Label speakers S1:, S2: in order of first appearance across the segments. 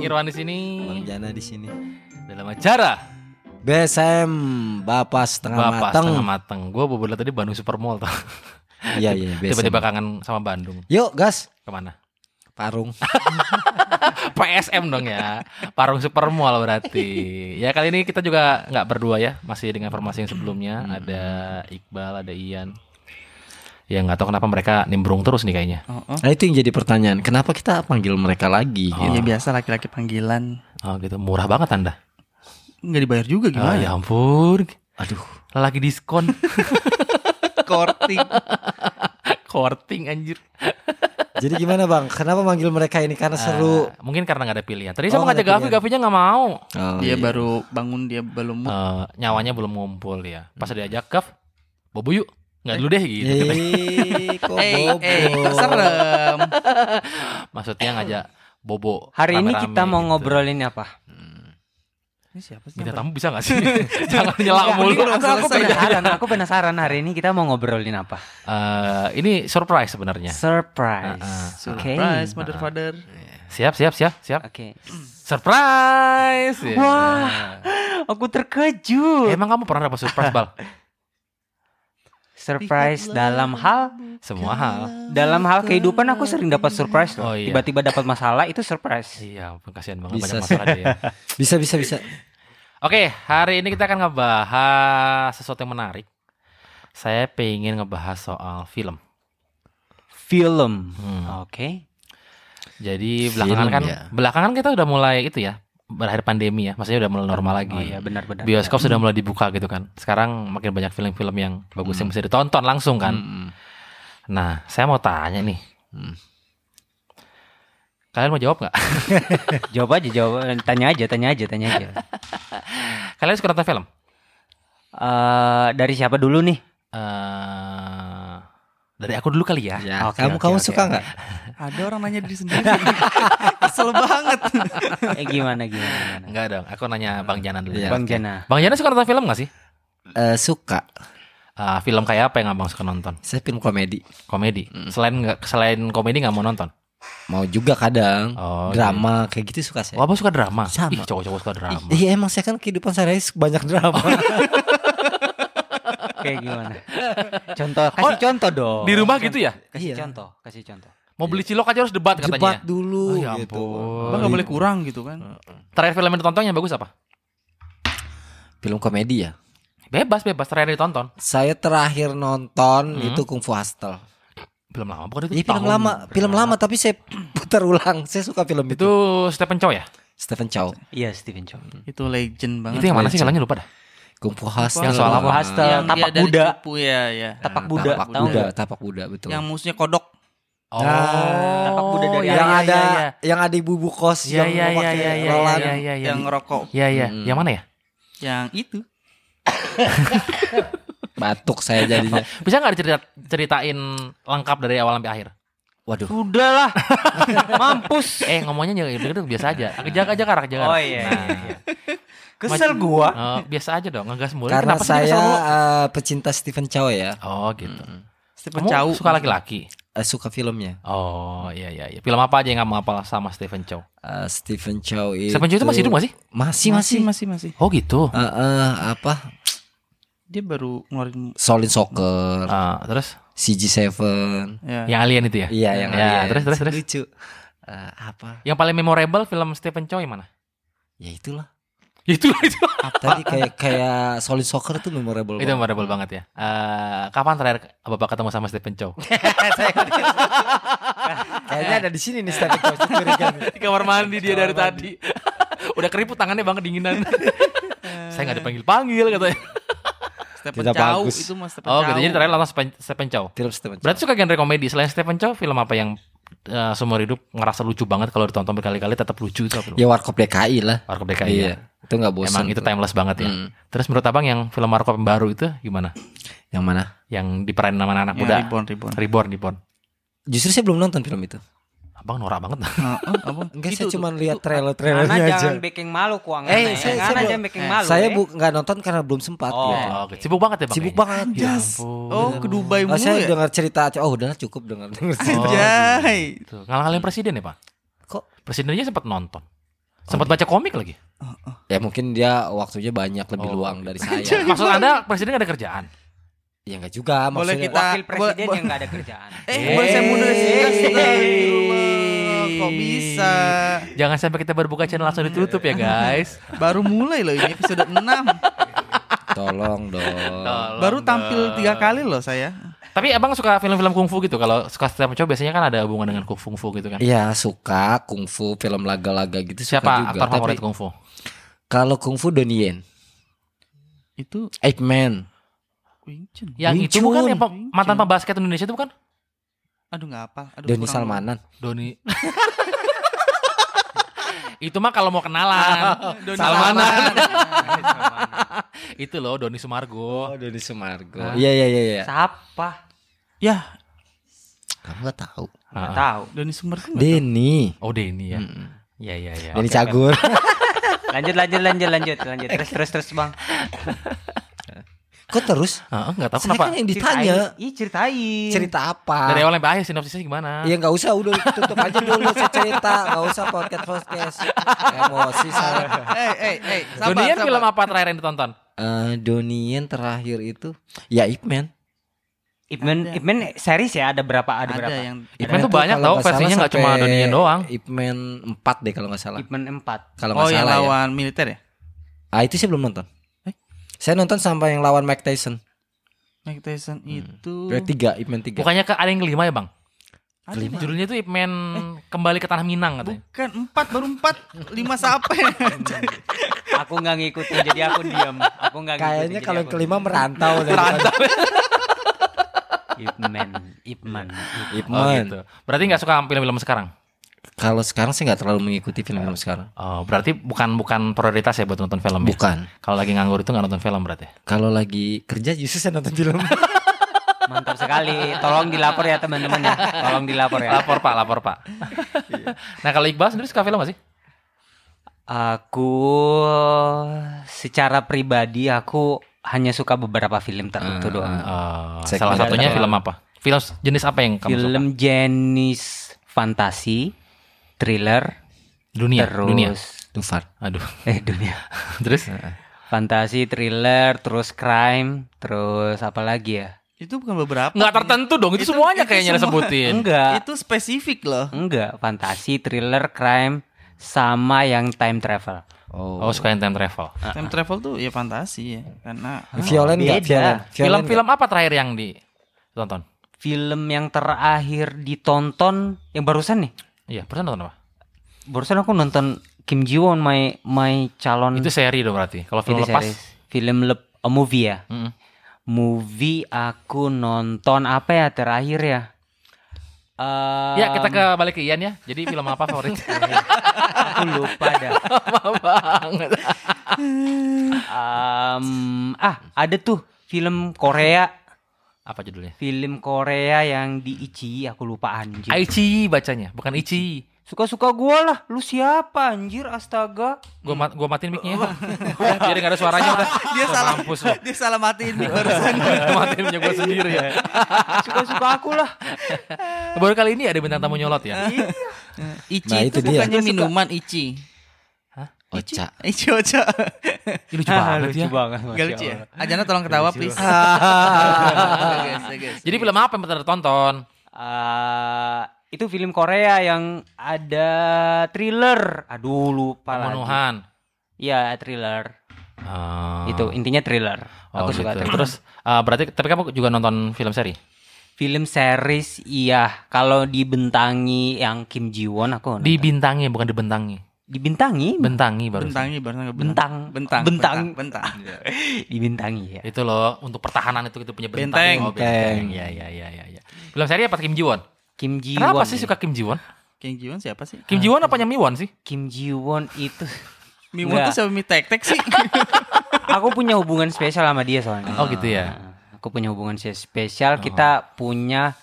S1: Irwan di sini
S2: Bang Jana di sini.
S1: dalam acara
S2: BSM Bapak setengah
S1: Bapak
S2: mateng.
S1: setengah mateng. Gue bobola tadi Bandung Supermall tuh.
S2: Iya iya BSM.
S1: Tiba-tiba kangen sama Bandung.
S2: Yuk gas
S1: Kemana?
S2: parung.
S1: PSM dong ya. Parung Supermall berarti. Ya kali ini kita juga nggak berdua ya. Masih dengan formasi yang sebelumnya.
S2: Hmm.
S1: Ada Iqbal, ada Ian. Ya nggak tahu kenapa mereka nimbrung terus nih kayaknya.
S3: Oh, oh.
S2: Nah itu yang jadi pertanyaan. Kenapa kita panggil mereka lagi? Gitu.
S1: Oh.
S3: Ya biasa laki-laki panggilan
S1: Oh gitu. Murah banget anda.
S3: nggak dibayar juga
S1: Ah,
S3: gimana?
S1: ya ampun.
S2: Aduh.
S1: Lagi diskon.
S3: Korting.
S1: Korting anjir.
S2: Jadi gimana bang? Kenapa manggil mereka ini? Karena seru.
S1: Ah, mungkin karena nggak ada pilihan. Tadi
S2: Oh,
S1: sama
S2: nggak
S1: ngajak
S2: ada
S1: Gavi,
S2: pilihan.
S1: Gavinya nggak mau.
S2: Oh,
S3: dia
S2: iya.
S3: baru bangun dia belum mood.
S1: Eh, nyawanya belum ngumpul ya. Pas
S4: Hmm.
S1: diajak Gav, bobo yuk. Nggak dulu deh gitu.
S4: Iya.
S2: Eh, kok
S3: Eh,
S2: bobo?
S3: eh, serem.
S1: Maksudnya ngajak bobo.
S4: Hari ini
S1: rame-rame
S4: kita mau
S1: gitu.
S4: ngobrolin apa?
S3: Ini siapa sih?
S1: Bintang
S3: yang
S1: tamu bisa gak sih? Jangan nyelak
S4: Enggak,
S1: mulu.
S4: aku, aku, aku
S3: selesai.
S4: penasaran, aku penasaran hari ini kita mau ngobrolin apa?
S1: Eh, ini surprise sebenarnya.
S4: Surprise.
S3: ber-
S4: Oke.
S3: Uh-uh. Surprise, mother father.
S1: Siap, siap, siap, siap.
S4: Oke.
S1: Surprise. Ya.
S4: Wah. Aku terkejut.
S1: Emang kamu pernah dapat surprise bal?
S4: Surprise dalam hal
S1: Semua
S3: Kan?
S1: hal.
S4: dalam hal kehidupan aku sering dapat surprise loh.
S1: Oh, iya.
S4: Tiba-tiba dapat masalah itu surprise.
S1: Iya, ampun, kasihan banget
S2: Bisa
S1: banyak masalah dia. ya.
S2: Bisa bisa bisa.
S1: Oke, hari ini kita akan ngebahas sesuatu yang menarik. Saya pengen ngebahas soal film.
S4: Film.
S1: Hmm.
S4: Oke.
S1: Jadi
S2: Film,
S1: belakangan kan,
S2: ya.
S1: belakangan kita udah mulai itu ya, berakhir pandemi ya, maksudnya udah mulai normal lagi.
S4: Oh iya benar-benar.
S1: Bioskop sudah mulai dibuka gitu kan. Sekarang makin banyak film-film yang bagus yang bisa ditonton langsung kan.
S2: Mm-mm.
S1: Nah, saya mau tanya nih.
S2: Hmm.
S1: Kalian mau jawab nggak?
S4: Jawab aja, jawab. Tanya aja, tanya aja, tanya aja.
S1: Kalian suka nonton film?
S4: Eh, dari siapa dulu nih?
S1: Eh, dari aku dulu kali ya.
S2: Ya,
S4: Oke,
S2: kamu
S4: oke,
S2: kamu
S4: oke,
S2: suka
S4: oke.
S2: nggak?
S3: Ada orang nanya diri sendiri. Kesel banget.
S4: Eh, gimana gimana? gimana?
S1: Enggak dong, aku nanya Bang Jana dulu.
S2: Iya.
S4: Bang Jana.
S1: Nah, Bang Jana suka nonton film nggak sih?
S2: Eh, suka.
S1: Ah, film kayak apa yang abang suka nonton?
S2: Saya film komedi.
S1: Komedi. Selain nggak selain komedi nggak mau nonton?
S2: Mau juga kadang.
S1: Oh,
S2: drama kayak gitu suka
S1: gitu. Oh,
S2: saya.
S1: abang suka drama.
S2: Sama.
S1: Ih, cowok-cowok suka drama.
S2: Ih, Iya emang saya kan kehidupan saya banyak drama.
S4: Kayak gimana? Contoh, kasih
S1: Oh,
S4: contoh dong.
S1: Di rumah gitu ya?
S2: Iya.
S4: Kasih contoh, kasih contoh.
S1: Mau beli cilok aja harus debat
S2: Jebat
S1: katanya. Oh,
S2: dulu.
S1: ya
S2: gitu.
S1: ampun.
S3: Abang nggak boleh kurang gitu kan?
S1: Terakhir film yang ditonton yang bagus apa?
S2: Film komedi ya.
S1: Bebas, bebas. Terakhir ditonton.
S2: Saya terakhir nonton
S1: Hmm.
S2: itu Kung Fu Hostel.
S1: Film lama bukan itu?
S2: Iya
S1: Tahun
S2: film lama, film
S1: berapa?
S2: lama tapi saya putar ulang. Saya suka film
S1: Itu
S2: itu.
S1: Stephen Chow ya?
S2: Stephen Chow,
S4: Iya, Steven Chow.
S3: Itu legend banget.
S1: Itu yang mana sih kalanya lupa dah.
S2: Kung Fu Hostel.
S1: Yang soal apa?
S4: Hostel. Tapak
S3: dari
S4: Kuda.
S3: cupu, ya, ya.
S4: Tapak
S2: Tapak
S4: Buddha,
S2: Ah, Tapak
S4: tahu
S2: Buddha,
S4: nggak?
S2: Tapak Buddha betul.
S3: Yang musuhnya kodok.
S1: Oh,
S4: Tapak Kuda dari
S1: iya,
S2: yang
S1: iya,
S2: ada
S1: iya.
S2: yang ada ibu ibu kos
S1: Iya,
S2: yang
S1: iya, iya,
S2: memakai
S1: iya, iya, iya,
S2: rolan.
S1: iya, iya.
S3: Yang ngerokok.
S1: Iya, iya.
S2: Hmm.
S1: Yang mana ya?
S3: Yang itu.
S2: Batuk saya jadinya.
S1: Bisa nggak dicerita- ceritain lengkap dari awal sampai akhir?
S2: Waduh.
S4: Sudahlah. Mampus.
S1: Eh ngomongnya jangan gitu gitu biasa aja. Jaga aja karak jaga.
S4: Oh
S1: jarak.
S4: iya,
S1: Nah,
S4: iya, iya. Kesel gua.
S1: eh, biasa aja dong ngegas mulu.
S2: Karena
S1: Kenapa sih dia
S2: saya
S1: kesel mulu?
S2: eh, pecinta Stephen Chow ya,
S1: Oh gitu.
S3: Stephen
S1: Kamu
S3: Chow.
S1: suka laki-laki?
S2: Eh, suka filmnya.
S1: Oh iya iya iya. Film apa aja yang kamu hafal sama Stephen Chow?
S2: Eh, Stephen Chow itu.
S1: Stephen Chow itu masih hidup gak sih?
S2: Masih
S3: Masih,
S2: masih.
S3: masih, masih.
S1: Oh gitu.
S2: Eh, eh, apa?
S3: Dia baru ngeluarin
S2: Solid Soccer,
S1: Ah, terus
S2: CG7.
S3: ya.
S1: yang alien itu ya?
S2: Iya yang
S1: Ya,
S2: alien.
S1: terus, terus, terus.
S2: Lucu. Eh, apa?
S1: Yang paling memorable film Stephen Chow yang mana?
S2: Ya itulah.
S1: Itu itu.
S2: Tadi kayak kayak solid soccer tuh
S1: itu
S2: memorable banget.
S1: memorable banget ya. Eh, kapan terakhir Bapak ketemu sama Stephen Chow?
S2: Kayaknya ada di sini nih static coach curiga
S1: Di
S2: nih.
S1: kamar mandi dia dari tadi. Udah keriput tangannya bang kedinginan. Saya nggak dipanggil-panggil katanya.
S3: Stephen
S2: Tidak
S3: Chow
S2: bagus.
S3: itu mas Stephen
S1: Oh
S3: Chow.
S1: gitu. Jadi terakhir nonton Stephen- Stephen Chow.
S2: Film Stephen Chow.
S1: Berarti suka genre komedi. Selain Stephen Chow, film apa yang eh, seumur hidup ngerasa lucu banget kalau ditonton berkali-kali tetap lucu itu apa?
S2: Ya Warkop DKI lah.
S1: Warkop DKI
S2: Iya.
S1: ya.
S2: Itu nggak bosan.
S1: Emang itu
S2: tuh.
S1: timeless banget ya.
S2: Hmm.
S1: Terus menurut abang yang film Warkop yang baru itu gimana?
S2: Yang mana?
S1: Yang diperanin sama anak
S3: Ya,
S1: muda.
S3: Reborn, reborn.
S1: Reborn, Reborn.
S2: Justru saya belum nonton film itu.
S1: Abang norak banget.
S3: Nah, eh, apa?
S2: Enggak,
S3: Itu
S2: saya
S3: tuh.
S2: cuma lihat
S4: Karena
S2: trailer-trailernya aja.
S4: jangan bikin malu keuangan.
S2: Eh,
S4: Eh,
S2: saya- saya
S4: Karena
S2: belum-
S4: jangan bikin
S3: eh,
S4: malu.
S2: Saya
S4: eh.
S2: bu nggak nonton karena belum sempat.
S4: Oh,
S2: gitu.
S1: Oh, oke. Sibuk banget ya bang.
S2: Sibuk
S1: kayaknya.
S2: banget.
S1: Ya
S3: Jas.
S1: ampun.
S3: Oh, ke Dubai
S2: Oh,
S3: mulu
S2: saya
S3: ya.
S2: dengar cerita aja. Oh, udah cukup dengar dengar.
S1: Oh,
S3: Anjay. Eh,
S1: Tuh, ngalah-ngalahin presiden ya pak?
S2: Kok?
S1: Presidennya sempat nonton. Sempat baca komik lagi.
S2: Ya mungkin dia waktunya banyak lebih
S1: Oh.
S2: luang dari saya.
S1: Maksud Anda presiden nggak ada kerjaan?
S2: ya enggak juga
S3: Boleh
S2: maksudnya.
S3: kita-
S4: Wakil presiden
S3: bo- bo-
S4: yang nggak ada kerjaan.
S3: Eh, boleh saya mundur sebentar, sebentar. Astagfirullah, Kok bisa?
S1: Jangan sampai kita baru buka channel langsung ditutup ya, guys.
S3: Baru mulai loh ini episode 6
S2: Tolong dong.
S1: Tolong
S3: Baru
S1: dong.
S3: tampil tiga kali loh saya
S1: Tapi Abang suka film-film kungfu gitu. Kalau suka setiap mencoba biasanya kan ada hubungan dengan kungfu gitu kan.
S2: Iya suka kungfu film laga-laga gitu
S1: Siapa
S2: suka juga.
S1: aktor
S2: Tapi
S1: favorit kungfu?
S2: kalau kungfu Donnie Yen,
S3: Itu
S2: Ip Man.
S3: Wing Chun
S1: Yang
S2: Wing
S1: itu bukan
S2: Chun.
S1: yang pe- mantan pembasket Indonesia itu bukan?
S3: Aduh gak apa Aduh,
S2: Doni
S3: kurang-
S2: Salmanan.
S1: Doni. itu mah kalau mau kenalan. Salmanan. itu loh Doni Sumargo.
S2: Doni Oh, Sumargo.
S4: Hah?
S2: Iya iya iya iya.
S4: Siapa?
S3: Ya
S2: Kamu gak tahu.
S4: Nggak
S1: Ah.
S4: tahu.
S3: Doni Sumargo nggak
S2: Denny.
S1: Oh Deni ya. Iya iya iya.
S2: Denny Cagur.
S4: Lanjut lanjut lanjut lanjut lanjut. Terus terus terus bang.
S2: Kok terus?
S1: Heeh, enggak tahu
S2: Saya
S1: kenapa.
S2: kan yang ditanya
S4: Ceritain. Ih ceritain.
S2: cerita
S1: Dari
S2: apa?
S1: awal sampai akhir sinopsisnya gimana?
S2: Iya nggak usah udah tutup aja dulu saya cerita nggak usah podcast podcast emosi saya.
S3: Eh eh eh sabar,
S1: Doni Yen
S3: sabar.
S1: film apa terakhir yang ditonton?
S2: Eh Donnie Yen terakhir itu ya Ip Man.
S4: Ipman Ipman series ya ada berapa ada,
S3: Ada
S4: berapa?
S3: yang
S1: Ip Man tuh banyak
S2: kalau
S1: tau,
S2: nggak salah
S1: versinya nggak cuma
S2: sampai
S1: Donnie Yen doang.
S2: Ip Man 4 deh kalau nggak salah.
S4: Ipman empat.
S2: Kalau nggak
S3: Oh yang
S2: salah ya.
S3: lawan militer ya
S2: Ah itu saya belum nonton.
S3: Eh?
S2: Saya nonton sampai yang lawan Mike Tyson.
S3: Mike
S2: Hmm.
S3: Tyson
S1: Hmm.
S3: itu
S2: Dua tiga, Ip Man tiga.
S1: Bukannya ke ada yang kelima ya bang?
S3: Ada
S2: kelima.
S3: Bang.
S1: Judulnya tuh Ip Man kembali ke tanah Minang katanya.
S3: Bukan empat baru empat lima ya? sampai
S4: Aku nggak ngikutin jadi aku diam. Aku nggak ngikutin.
S2: Kayaknya
S4: jadi
S2: kalau yang
S4: aku
S2: kelima merantau deh.
S4: diam. Ipman Ipman.
S2: Ip
S1: Oh,
S2: Man.
S1: gitu. Berarti nggak suka film-film sekarang?
S2: Kalau sekarang saya nggak terlalu mengikuti film-film sekarang.
S1: Oh, berarti bukan bukan prioritas ya buat nonton film. ya?
S2: Bukan.
S1: Kalau lagi nganggur itu nggak nonton film berarti.
S2: Kalau lagi kerja justru saya nonton film.
S4: Mantap sekali. Tolong dilapor ya teman-teman ya. Tolong dilapor ya.
S1: Lapor pak, lapor pak. nah kalau Iqbal sendiri suka film nggak sih?
S4: Aku secara pribadi aku hanya suka beberapa film tertentu doang.
S1: Oh,
S2: Saya
S1: salah
S2: kira
S1: satunya
S2: ada.
S1: film apa? Film jenis apa yang kamu suka?
S4: film jenis fantasi, thriller,
S1: Dunia.
S4: terus
S1: Dunia.
S2: Dufar.
S1: Aduh.
S4: eh dunia.
S1: Terus?
S4: Fantasi, thriller, terus crime, terus apa lagi ya?
S3: itu bukan beberapa
S1: Nggak tertentu dong. Itu,
S3: Itu-
S1: semuanya
S3: itu
S1: kayaknya
S3: semua.
S1: disebutin.
S4: Enggak.
S3: itu spesifik loh
S4: Enggak, fantasi, thriller, crime sama yang time travel.
S1: Oh suka yang time travel.
S3: time travel tuh ya fantasi ya karena
S2: Violent nggak? Violent.
S4: Beda.
S2: Violent nggak?
S1: Film-film apa terakhir yang ditonton?
S4: Film yang terakhir ditonton yang barusan nih.
S1: Iya, pernah nonton apa?
S3: Hmm.
S4: Barusan aku nonton Kim Ji Won my my calon
S1: Itu seri dong berarti. Kalau film
S4: Ini
S1: lepas,
S4: series. film lep- a movie ya.
S1: Mm-mm.
S4: Movie aku nonton apa ya terakhir ya? Eh,
S1: ya kita ke balik ke Ian ya. Jadi film apa favorit?
S3: Iya.
S4: aku lupa dah.
S1: banget.
S4: Em, ah, ada tuh film Korea,
S1: Apa judulnya?
S4: film Korea yang di Ichi, aku lupa
S3: Iya.
S4: anjir.
S1: Aichi bacanya, bukan Ichi.
S4: Suka-suka gua lah, lu siapa anjir astaga.
S1: Gua mat, gua matiin mic-nya. Jadi gak ada suaranya udah.
S3: dia
S1: Wah,
S3: Oh. salah
S1: mampus lu.
S3: dia salah matiin mic barusan
S1: matiin punya gua sendiri ya.
S4: Suka-suka aku lah. Iya.
S1: Baru kali ini ada bintang tamu nyolot ya.
S3: Ichi
S2: Nah, itu
S3: itu,
S2: dia.
S3: bukannya minuman Ichi
S2: Oca.
S3: Ichi oca
S1: Ih, lucu banget ya.
S4: banget.
S3: Iya. Gak lucu ya? Ajana tolong ketawa please Bagus, bagus.
S1: Jadi film apa yang pernah ditonton?
S4: Eh, itu film Korea yang ada thriller. Aduh lupa lagi.
S1: Pembunuhan.
S4: Iya, thriller.
S1: Ah.
S4: Itu intinya thriller.
S1: Oh,
S4: aku suka
S1: gitu.
S4: thriller.
S1: Terus eh, berarti tapi kamu juga nonton film seri?
S4: Film series iya, kalau dibentangi yang Kim Ji Won aku nonton.
S1: Dibintangi bukan dibentangi.
S4: dibentangi
S1: Bentangi baru.
S3: Bentangi barusan nggak
S4: Bentang.
S3: Bentang
S4: Bentang.
S3: Bentang
S4: dibentangi ya.
S1: Itu loh untuk pertahanan itu itu punya
S3: Benteng.
S1: bentang. Oh, benteng. Iya, iya, iya, iya, iya. Film seri apa Kim Ji Won?
S4: Kim Ji Won.
S1: Kenapa sih
S4: ya.
S1: suka Kim Ji Won?
S3: King Jiwon siapa sih?
S1: Kim Ji Won apa Mi Won sih?
S4: Kim Ji Won itu?
S3: Miwon tuh
S4: Nggak.
S3: siapa Mi Tek Tek sih?
S4: aku punya hubungan spesial sama dia soalnya.
S1: Oh, gitu Oh. ya.
S4: Nah, Aku punya hubungan se- spesial, kita punya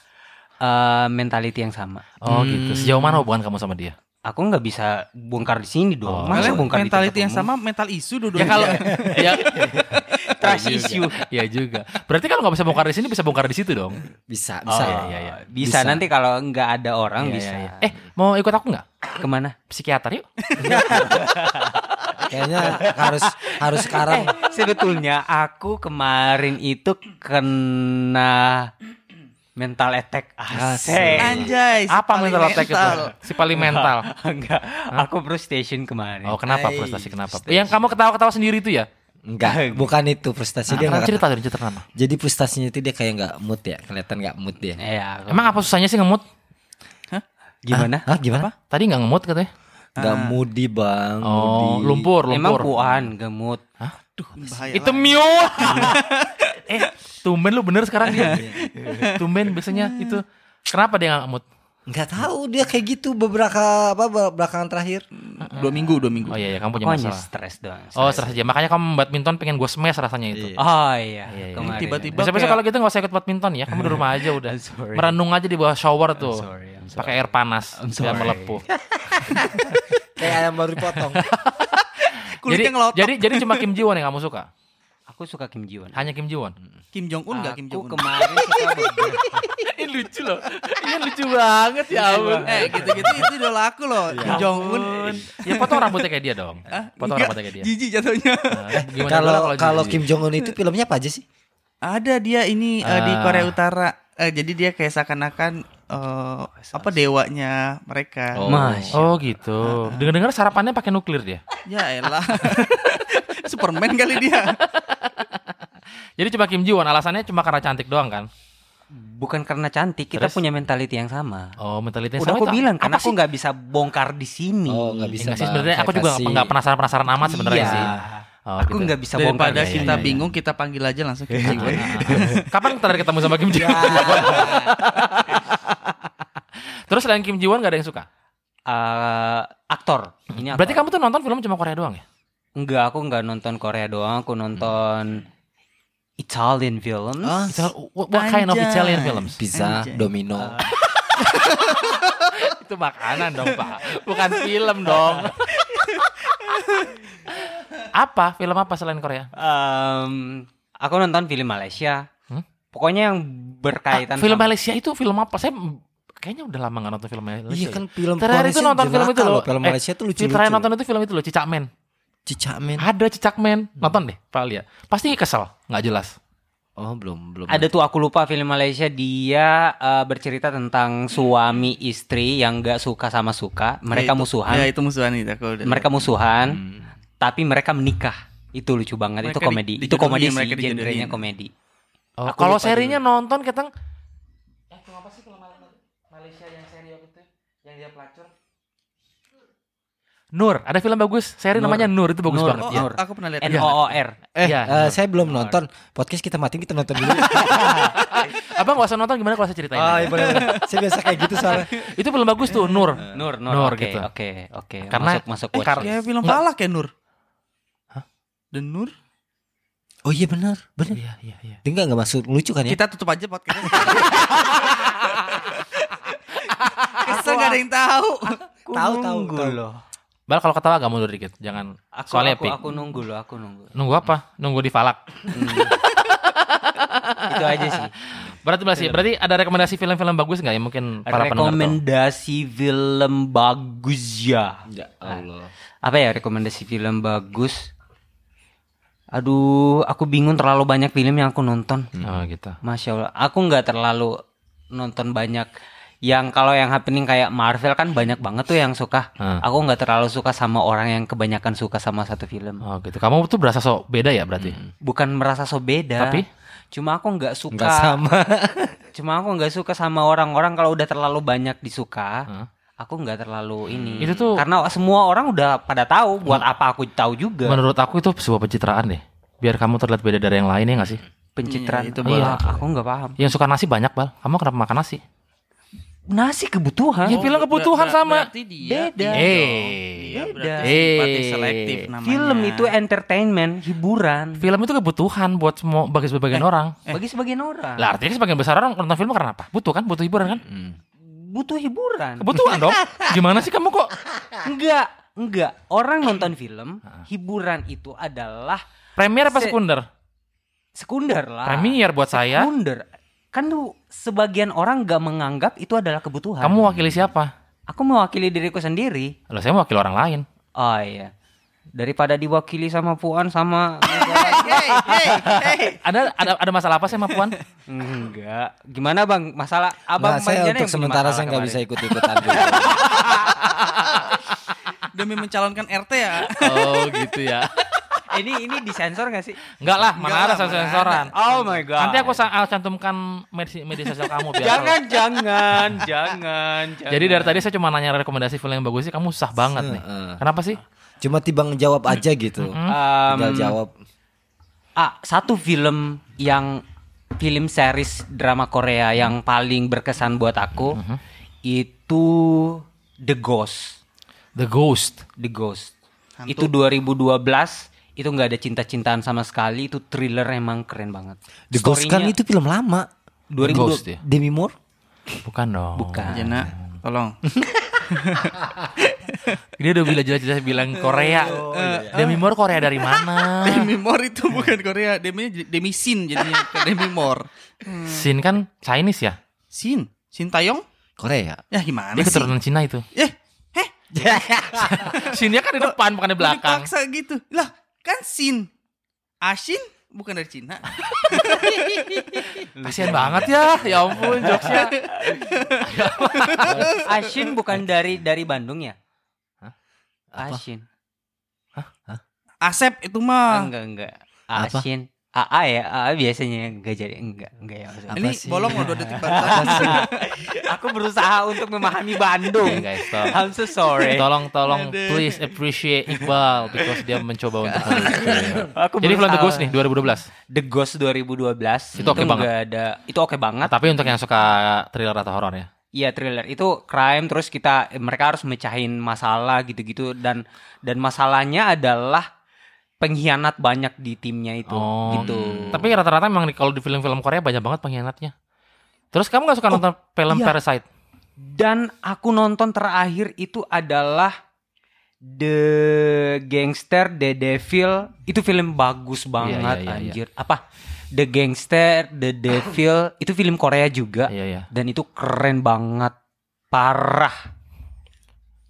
S4: eh, mentality yang sama.
S1: Oh gitu. Sejauh mana hubungan kamu sama dia?
S4: Aku nggak bisa bongkar di sini dong.
S1: Oh.
S4: Masa
S3: Kalian
S4: bongkar di
S3: mentality
S4: tempat
S3: yang
S4: umum?
S3: sama mental isu
S1: Ya
S3: dua-duanya.
S1: kalau ya
S4: Trust issue.
S1: Iya juga. Berarti kalau nggak bisa bongkar di sini bisa bongkar di situ dong.
S2: Bisa,
S1: Oh,
S2: bisa.
S1: iya, iya, iya.
S2: Bisa.
S4: Bisa, nanti kalau nggak ada orang
S1: Iya,
S4: bisa.
S1: iya, iya. Eh mau ikut aku nggak?
S4: Kemana?
S1: Psikiater yuk.
S2: Kayaknya harus harus sekarang.
S4: Eh,
S1: Eh.
S4: Sebetulnya aku kemarin itu kena mental attack.
S2: Asik.
S4: Asik.
S3: Anjay. si
S1: Apa
S3: paling
S1: mental attack itu? Si paling mental.
S4: Enggak, aku frustration kemarin.
S1: Oh kenapa
S3: Hai,
S1: frustasi kenapa?
S3: frustasi.
S1: Yang kamu ketawa-ketawa sendiri itu ya?
S2: Enggak, bukan itu frustasi dia
S1: Kenapa
S2: enggak.
S1: cerita dong cerita kenapa?
S2: Jadi frustasinya itu dia kayak nggak mood ya, kelihatan nggak mood dia.
S1: Eh,
S4: Iya, aku-
S1: Emang apa susahnya sih ngemut?
S4: gimana?
S2: Hah, gimana?
S1: Tadi nggak ngemut katanya?
S2: Nggak moody bang.
S1: Ah. Oh
S2: moody.
S1: lumpur lumpur.
S4: Emang puan gemut.
S3: Bahaya
S1: Itu mute. eh, tumben lu bener sekarang dia. tumben biasanya itu. Kenapa dia nggak mood?
S2: Nggak tahu dia kayak gitu beberapa apa be- belakangan terakhir.
S3: Dua minggu, dua minggu.
S1: Oh iya, iya kamu punya
S4: Pokoknya
S1: masalah.
S4: stres doang.
S1: Oh, stres aja. Makanya kamu badminton pengen gue smash rasanya itu.
S2: Iya.
S4: Oh iya,
S1: Iya, iya.
S4: kemarin.
S3: Tiba-tiba
S1: Besok-besok
S3: kayak-
S1: kalau gitu gak usah ikut badminton ya. Kamu di rumah aja udah.
S4: I'm sorry.
S1: Merenung aja di bawah shower tuh.
S4: sorry, I'm sorry.
S1: Pakai air panas
S4: I'm
S1: biar
S4: sorry.
S1: melepuh.
S2: Kayak ayam baru dipotong.
S1: jadi,
S3: Kulitnya ngelotok.
S1: jadi jadi cuma Kim Ji Won yang kamu suka.
S4: Aku suka Kim Ji Won.
S1: Hanya Kim Ji Won.
S3: Kim Jong Un nggak Kim
S4: Aku
S3: Jong Un?
S4: kemarin suka beberapa-
S1: Ini lucu loh. Ini Iya, lucu banget ya ampun.
S3: Eh gitu-gitu itu udah laku loh. Iya. Kim Jong Un.
S1: Ya potong rambutnya kayak dia dong. Potong
S3: Nggak,
S1: rambutnya kayak dia.
S3: Jijik jatuhnya.
S1: Nah, gimana
S2: Kalau
S1: Ji-
S2: kalau
S1: Ji?
S2: Kim Jong Un itu filmnya apa aja sih?
S3: Ada dia ini eh, di
S1: Ah.
S3: Korea Utara. Eh, jadi dia kayak seakan-akan eh, apa dewanya mereka.
S1: Oh.
S4: Masya
S1: oh gitu. Dengar-dengar sarapannya pakai nuklir dia.
S3: Ya elah. Superman kali dia.
S1: Jadi cuma Kim Ji Won alasannya cuma karena cantik doang kan?
S4: bukan karena cantik, kita
S1: Terus?
S4: punya mentality yang sama.
S1: Oh, mentalitasnya
S4: Udah
S1: sama
S4: aku
S1: itu
S4: bilang
S1: apa
S4: karena aku nggak bisa bongkar di sini.
S2: Oh, nggak bisa.
S1: Enggak sih
S2: Bang.
S1: sebenarnya aku juga
S2: Privasi.
S1: nggak penasaran-penasaran amat sebenarnya
S4: Iya.
S1: sih. Oh, gitu.
S4: Aku nggak bisa bongkar
S3: Daripada
S4: di sini.
S3: kita bingung kita panggil aja langsung Kim Jong Un.
S1: Kapan kita terakhir ketemu sama Kim Ji Won? Terus selain Kim Ji Won gak ada yang suka?
S4: Eh, aktor. Ini
S1: Berarti
S4: aktor.
S1: kamu tuh nonton film cuma Korea doang ya?
S4: Enggak, aku nggak nonton Korea doang, aku nonton Italian films.
S3: Ah,
S1: Ital- what, what kind of
S3: Anjay.
S1: Italian films?
S2: Pizza,
S3: Anjay.
S2: domino.
S1: Ah, Itu makanan dong pak, bukan film dong. apa? Film apa selain Korea?
S4: Em, aku nonton film Malaysia.
S1: Hmm?
S4: Pokoknya yang
S1: Ah,
S4: berkaitan
S1: film
S4: sama-
S1: Malaysia itu film apa? Saya m- kayaknya udah lama gak nonton film Malaysia. ya.
S2: Iya kan film
S1: Terakhir itu
S2: Malaysia
S1: nonton film
S2: jenaka
S1: itu loh.
S2: Film
S1: Eh,
S2: Malaysia tuh
S1: Lucu,
S2: lucu-lucu. Iya.
S1: terakhir nonton itu film itu loh, Cicak Men.
S2: Cicak men.
S1: Ada Cicak Men, nonton deh Pak Alia. Pasti kesel, nggak jelas.
S2: Oh, belum, belum.
S4: Ada tuh aku lupa film Malaysia dia eh, bercerita tentang suami istri yang gak suka sama suka,
S3: Ya,
S4: mereka
S3: itu-
S4: musuhan,
S3: Ya itu musuhan itu aku udah.
S4: mereka
S2: kan?
S4: musuhan,
S1: Hmm.
S4: tapi mereka menikah. Itu lucu banget,
S3: Mereka
S4: itu
S3: di-
S4: komedi, itu
S3: dijodohin,
S4: komedi sih,
S3: mereka dijodohin.
S4: genrenya komedi.
S1: Oh,
S4: Aku
S1: kalau
S4: lupa
S1: serinya nonton ketang Eh, kenapa sih kalau Malaysia yang seri itu yang dia pelacur? Nur, ada film bagus, seri
S4: Nur.
S1: namanya Nur itu bagus
S4: Nur.
S1: banget
S3: Oh,
S1: ya.
S3: aku- aku pernah lihat.
S4: N O O R.
S2: Eh,
S1: Iya,
S2: eh, saya belum nonton. Podcast kita matiin kita nonton dulu.
S1: Abang gak usah nonton gimana kalau saya ceritain.
S2: oh,
S1: aja?
S2: iya, boleh, boleh. Saya biasa kayak gitu soalnya.
S1: Itu film bagus tuh Nur.
S4: Nur, Nur,
S1: Nur
S4: oke,
S1: gitu.
S4: oke, oke.
S1: Karena-
S4: masuk masuk
S1: eh,
S4: watch
S1: karena-
S3: Ya
S4: list.
S3: film
S1: Nggak.
S3: Palak ya Nur. The Nur.
S2: Oh iya benar, benar.
S1: Iya, iya, iya.
S2: Dia enggak enggak masuk lucu kan ya?
S3: Kita tutup aja podcast. Kesel gak ada yang tahu.
S4: Aku
S2: Tahu, tahu,
S4: nunggu
S2: tahu.
S4: loh.
S1: Bal kalau ketawa gak mundur dikit, jangan.
S4: Aku,
S1: Soalnya
S4: aku,
S1: epic.
S4: aku nunggu loh, aku nunggu. Hmm.
S1: Nunggu apa? Nunggu di Falak.
S4: itu aja sih.
S1: Berarti berarti, berarti ada rekomendasi film-film bagus nggak ya mungkin para pendengar tahu?
S4: Rekomendasi film bagus ya.
S2: Ya Allah.
S4: apa ya rekomendasi film bagus aduh aku bingung terlalu banyak film yang aku nonton
S1: Oh gitu.
S4: masya allah aku nggak terlalu nonton banyak yang kalau yang happening kayak Marvel kan banyak banget tuh yang suka
S1: Hmm.
S4: aku nggak terlalu suka sama orang yang kebanyakan suka sama satu film
S1: Oh gitu. Kamu tuh berasa sok beda ya berarti.
S4: bukan merasa so beda
S1: Tapi?
S4: cuma aku nggak suka
S2: Enggak sama.
S4: cuma aku nggak suka sama orang-orang kalau udah terlalu banyak disuka
S1: Hah?
S4: aku nggak terlalu ini
S1: Itu tuh-
S4: karena semua orang udah pada tahu buat apa aku tahu juga
S1: Iya. Menurut aku itu sebuah pencitraan deh. Biar kamu terlihat beda dari yang lain ya nggak sih?
S4: pencitraan
S3: Iya, itu
S1: boleh.
S4: Iya, aku nggak paham
S1: Yang suka nasi banyak bal. Kamu kenapa makan nasi?
S4: nasi kebutuhan
S1: Ya, film kebutuhan sama.
S3: Berarti dia
S4: Beda.
S3: tidak
S1: Eh.
S3: dong. Dia Iya berarti
S1: Beda.
S3: simpatis
S1: Eh.
S3: selektif namanya. Iya.
S4: film itu entertainment hiburan
S1: Film itu kebutuhan buat semua bagi sebagian orang.
S4: bagi sebagian orang
S1: Eh. Lah artinya sebagian besar orang nonton film karena apa? Butuh kan? Butuh hiburan kan?
S4: butuh hiburan
S1: Kebutuhan dong. Gimana sih kamu kok
S4: enggak enggak orang nonton film hiburan itu adalah
S1: premier apa
S4: Se-
S1: sekunder?
S4: sekunder lah.
S1: Premier buat saya.
S4: Sekunder. Kan tuh sebagian orang gak menganggap itu adalah kebutuhan.
S1: Kamu wakili siapa?
S4: Aku mewakili diriku sendiri.
S1: Loh, saya mewakili orang lain.
S4: Oh iya. Daripada diwakili sama Puan sama
S3: Hey, hey, hey.
S1: Ada ada ada masalah apa sih sama Puan?
S4: enggak. Gimana Bang? Masalah
S2: Nah,
S4: Abang
S2: saya
S4: Marjana yang
S2: untuk
S4: punya
S2: sementara
S4: masalah
S2: saya nggak bisa
S4: kemarin.
S2: ikut-ikutan. dulu.
S3: Demi mencalonkan RT ya.
S1: Oh, gitu ya.
S4: Ini ini disensor gak sih?
S1: Enggak lah,
S3: Enggak
S1: mana ada
S3: lah, mana
S1: sensoran.
S4: Oh my god.
S1: Nanti aku sa- ah, cantumkan media, media sosial kamu biar
S4: jangan, jangan, jangan, jangan.
S1: Jadi dari tadi saya cuma nanya rekomendasi film yang bagus sih, kamu susah banget nih.
S2: Heeh.
S1: Kenapa sih?
S2: Cuma tiba ngejawab
S3: Hmm.
S2: aja gitu.
S4: Um,
S2: Tinggal jawab.
S4: Ah, satu film yang film series drama Korea yang paling berkesan buat aku itu The Ghost.
S1: The Ghost.
S4: The Ghost.
S3: Hantu.
S4: Itu 2012 itu nggak ada cinta-cintaan sama sekali itu thriller emang keren banget.
S2: The Ghost kan
S4: Story-nya
S2: itu film lama.
S4: 2002
S1: Ghost ya?
S2: Demi Moore?
S1: Bukan dong.
S4: bukan.
S3: Jena, tolong.
S1: Dia udah bilang jelas-jelas bilang Korea. Demi Moore Korea dari mana?
S3: Demi Moore itu bukan Korea, Demi Demi Sin jadinya bukan Demi Moore.
S1: Sin kan Chinese ya?
S3: Sin, Sin Tayong?
S2: Korea.
S3: Ya gimana
S1: Dia
S3: sih?
S1: keturunan Cina itu.
S3: Eh, heh,
S1: Sinnya kan di depan bukan di belakang.
S3: dipaksa gitu. Lah, kan Sin. Asin bukan dari Cina.
S1: Kasihan banget ya. Ya ampun jokesnya. Oh.
S4: Ashin bukan dari dari Bandung ya? Ashin.
S3: Asep itu mah.
S4: Enggak, enggak.
S2: Apa?
S4: Ashin. AA ya, AA biasanya enggak jadi enggak, enggak ya. maksudnya.
S3: Ini
S2: sih?
S3: bolong loh 2 detik banget.
S4: Aku berusaha untuk memahami
S1: Oke,
S4: Bandung.
S1: guys, stop.
S4: I'm so sorry.
S1: Tolong tolong
S3: Aduh.
S1: please appreciate Iqbal because dia mencoba untuk menulis.
S4: Aku
S1: Jadi film The
S4: berusaha.
S1: Ghost nih 2012.
S4: The Ghost 2012
S1: Itu oke banget.
S4: nggak ada itu oke banget.
S1: Nah, tapi untuk yang suka thriller atau horor ya.
S4: Iya thriller itu crime terus kita mereka harus mecahin masalah gitu-gitu dan dan masalahnya adalah pengkhianat banyak di timnya itu
S1: Oh,
S4: gitu.
S1: Tapi rata-rata memang di- kalau di film-film Korea banyak banget pengkhianatnya. Terus kamu gak suka nonton film
S3: iya.
S1: Parasite?
S4: Dan aku nonton terakhir itu adalah The Gangster, The Devil. Itu film bagus banget
S1: iya, iya.
S4: anjir. Apa? The Gangster, The Devil itu film Korea juga.
S1: Iya ya.
S4: dan itu keren banget parah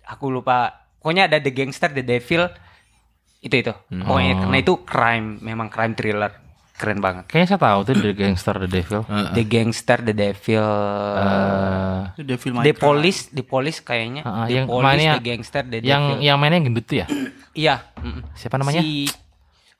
S4: aku lupa pokoknya ada the gangster the devil itu itu pokoknya
S1: Oh.
S4: karena itu crime memang crime thriller keren banget
S1: Kayaknya saya tahu tuh The Gangster The Devil.
S4: the gangster the devil
S1: Eh,
S3: Itu dia film
S4: the police the police kayaknya
S1: Ah, ah,
S4: the
S1: yang
S4: police
S1: mainnya-
S4: the gangster the
S1: yang
S4: devil
S1: yang mainnya yang gendut tuh ya?
S4: iya mm-mm.
S1: Siapa namanya?
S4: si